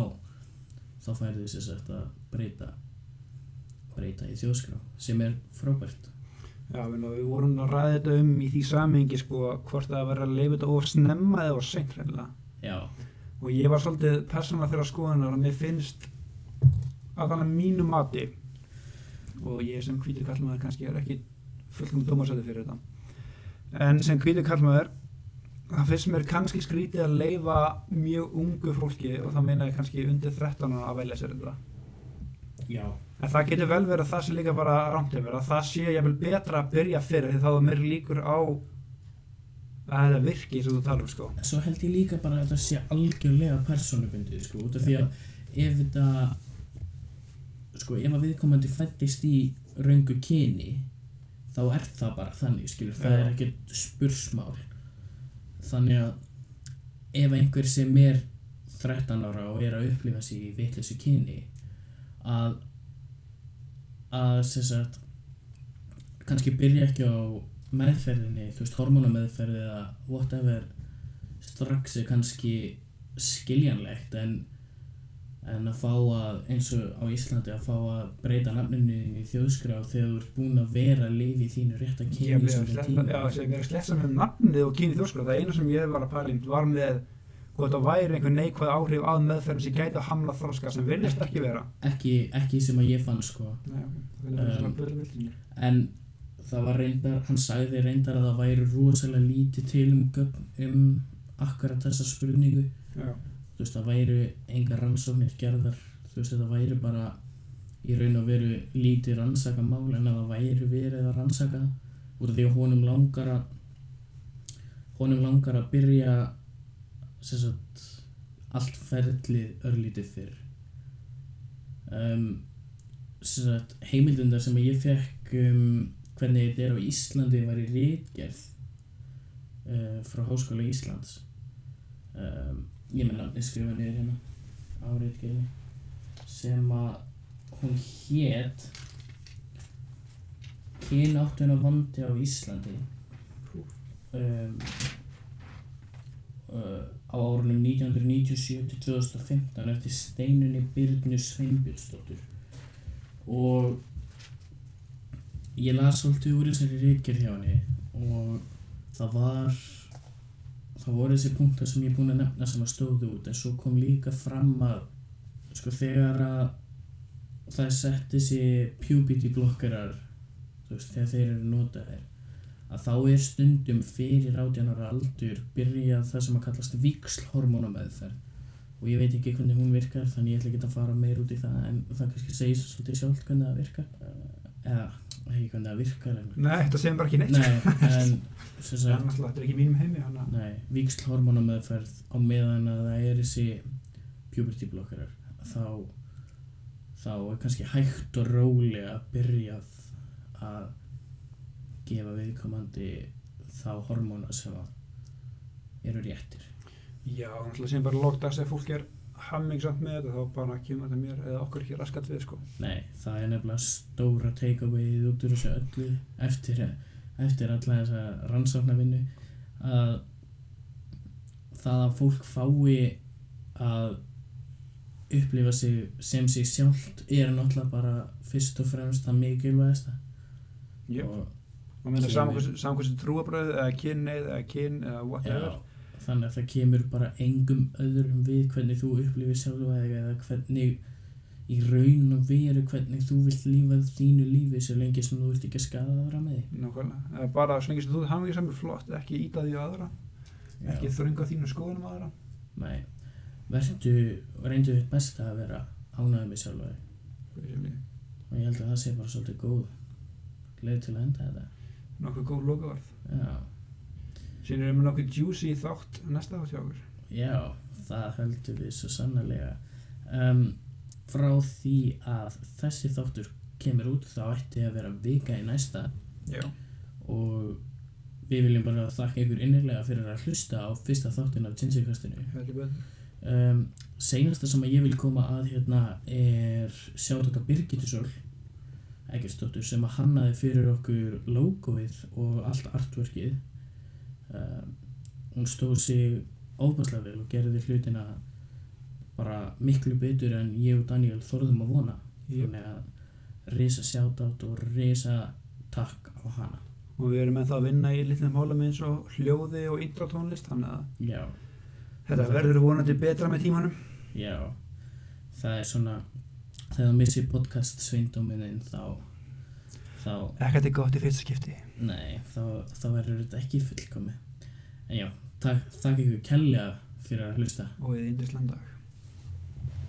[SPEAKER 1] þá færðu þess sagt að breyta breyta í þjóðskrá sem er frábært
[SPEAKER 2] Já, við, nú- við vorum að ræða þetta um í því samhengi sko hvort það var að leifa þetta of snemma eða of seint reynilega
[SPEAKER 1] Já,
[SPEAKER 2] og ég var svolítið persónulega þeirra skoðunar að mér finnst að þannig mínu mati og ég sem hvítur kallmaður kannski er ekki fullum dómarsæti fyrir þetta en sem hvítur kallmaður það finnst mér kannski skrítið að leifa mjög ungu fólki og þá meina ég kannski undir 13 ára að velja sér þetta
[SPEAKER 1] já,
[SPEAKER 2] en það getur vel verið að það sé líka bara rámt yfir að það sé jafnvel betra að byrja fyrir því þá er mér líkur á að þetta virki sem þú talar um sko
[SPEAKER 1] svo held ég líka bara að þetta sé algjörlega persónubundið sko, út af því að ef þetta sko, ef að viðkomandi fættist í raungu kyni þá er það bara þannig, skilur, það
[SPEAKER 2] Já.
[SPEAKER 1] er ekkert spursmál þannig að ef einhver sem er 13 ára og er að upplifa sig í vitleysu kyni að að sem sagt kannski byrja ekki á meðferðinni, þú veist, hormónameðferði eða whatever strax er kannski skiljanlegt en, en að fá að eins og á Íslandi að fá að breyta nafninu þínu í þjóðskrá þegar þú ert búin að vera að lifa í þínu rétta
[SPEAKER 2] Ég
[SPEAKER 1] kyni
[SPEAKER 2] hef verið að sletta- já, sem ég er að sletta með nafnið og kynið þjóðskráð. Það eina sem ég var að pæla í var með hvort það væri einhver neikvæð áhrif að meðferðum sem gæti að hamla þroska sem virðist ekki vera.
[SPEAKER 1] ekki, ekki sem að ég fann sko
[SPEAKER 2] Nei,
[SPEAKER 1] það er svona
[SPEAKER 2] um,
[SPEAKER 1] en það var reyndar, hann sagði reyndar að það væri rosalega lítið til um, gögn- um akkurat þessa spurningu
[SPEAKER 2] já.
[SPEAKER 1] þú veist, það væri engar rannsóknir gerðar, þú veist, það væri bara í raun og veru lítið rannsaka mál en að það væri verið að rannsaka það, út af því að honum langar að honum langar að byrja sem sagt allt ferlið örlítið fyrr um, sem sagt heimildundar sem ég fekk um hvernig þetta er á Íslandi var í rítgerð uh, frá Háskóla Íslands um, ég með nafni skrifa niður hérna á rítgerði sem að hún hét kynáttuna vandi á Íslandi um, uh, á árunum 1997 til 2015 eftir steinunni Birnu Sveinbjörnsdóttur og ég las svolítið úr þessari reykjur hjá henni og það var það voru þessi punktar sem ég er búinn að nefna sem að stóðu út en svo kom líka fram að sko þegar að það setti þessi puberty blokkarar þú veist, þegar þeir eru notaðir að þá er stundum fyrir 18 ára aldur byrjað það sem að kallast vikslhormónameðferð og ég veit ekki hvernig hún virkar þannig ég ætla ekki að fara meir út í það en það kannski segir svolítið sjálf hvernig það virkar eða ekki hvernig það virkar en,
[SPEAKER 2] Nei, þetta segir bara ekki neitt sko.
[SPEAKER 1] nei, en sem
[SPEAKER 2] Það er
[SPEAKER 1] sagt
[SPEAKER 2] náttúrulega, þetta er ekki í mínum heimi hana.
[SPEAKER 1] Nei, vikslhormónameðferð á meðan að það er þessi puberty blockerar þá, þá er kannski hægt og rólega byrjað að gefa viðkomandi þá hormóna sem að eru réttir
[SPEAKER 2] Já, náttúrulega segir bara logdags ef fólk er hammingsamt með þetta þá bara kemur þetta mér eða okkur ekki raskat við sko.
[SPEAKER 1] Nei, það er nefnilega stóra takeawayið út úr þessu öllu eftir, eftir alla þessa rannsóknarvinnu að það að fólk fái að upplifa sig sem sig sjálft er náttúrulega bara fyrst og fremst það mikilvægasta
[SPEAKER 2] Jú.
[SPEAKER 1] og
[SPEAKER 2] Og meina
[SPEAKER 1] Sem er-
[SPEAKER 2] saman hversu- saman hversu trúabröð eða kynneið eða kyn eða whatever.
[SPEAKER 1] já, þannig að það kemur bara engum öðrum við hvernig þú upplifir sjálfa þig eða hvernig í raun og veru hvernig þú vilt lífa þínu lífi svo lengi sem þú ert ekki að skaða aðra með þig
[SPEAKER 2] Nákvæmlega. Eða Bara svo lengi sem þú er hammingsamur flott, ekki íta því á aðra, ekki þrönga þínu skoðunum aðra.
[SPEAKER 1] Nei, verðu reyndu þitt besta að vera ánægð með sjálfa þig
[SPEAKER 2] Nokkuð
[SPEAKER 1] og ég held að það sé bara svolítið góð leið til að enda þetta
[SPEAKER 2] góð lokavarð.
[SPEAKER 1] Já,
[SPEAKER 2] Síðan erum við nokkuð juicy þátt næsta þátt hjá okkur.
[SPEAKER 1] já það höldum við svo sannarlega um, frá því að þessi þáttur kemur út þá ætti að vera vika í næsta
[SPEAKER 2] Já.
[SPEAKER 1] og við viljum bara þakka ykkur innilega fyrir að hlusta á fyrsta þáttin af Tinsikastinu
[SPEAKER 2] Heldur betur.
[SPEAKER 1] um, Seinasta sem að ég vil koma að hérna er sjáttaka Birgitusól Eggersdóttur sem að hannaði fyrir okkur logoið og allt artworkið um, Hún stóð sig óbærslega vel og gerði hlutina bara miklu betur en ég og Daniel þorðum að vona
[SPEAKER 2] Yep.
[SPEAKER 1] Þannig að risa sjátátt og risa takk á hana
[SPEAKER 2] Og við erum ennþá að vinna í litlum hólum eins og hljóði og introtónlist, þannig að
[SPEAKER 1] Já,
[SPEAKER 2] þetta verður vonandi betra með tímanum.
[SPEAKER 1] já Það er svona þegar þú missir podcast sveindómininn þá þá,
[SPEAKER 2] Ekkert er gott í fyrsta skipti.
[SPEAKER 1] nei, þá, þá verður þetta ekki fullkomi en já, takk, takk ykkur kærlega fyrir að hlusta
[SPEAKER 2] Og við Indisland dag.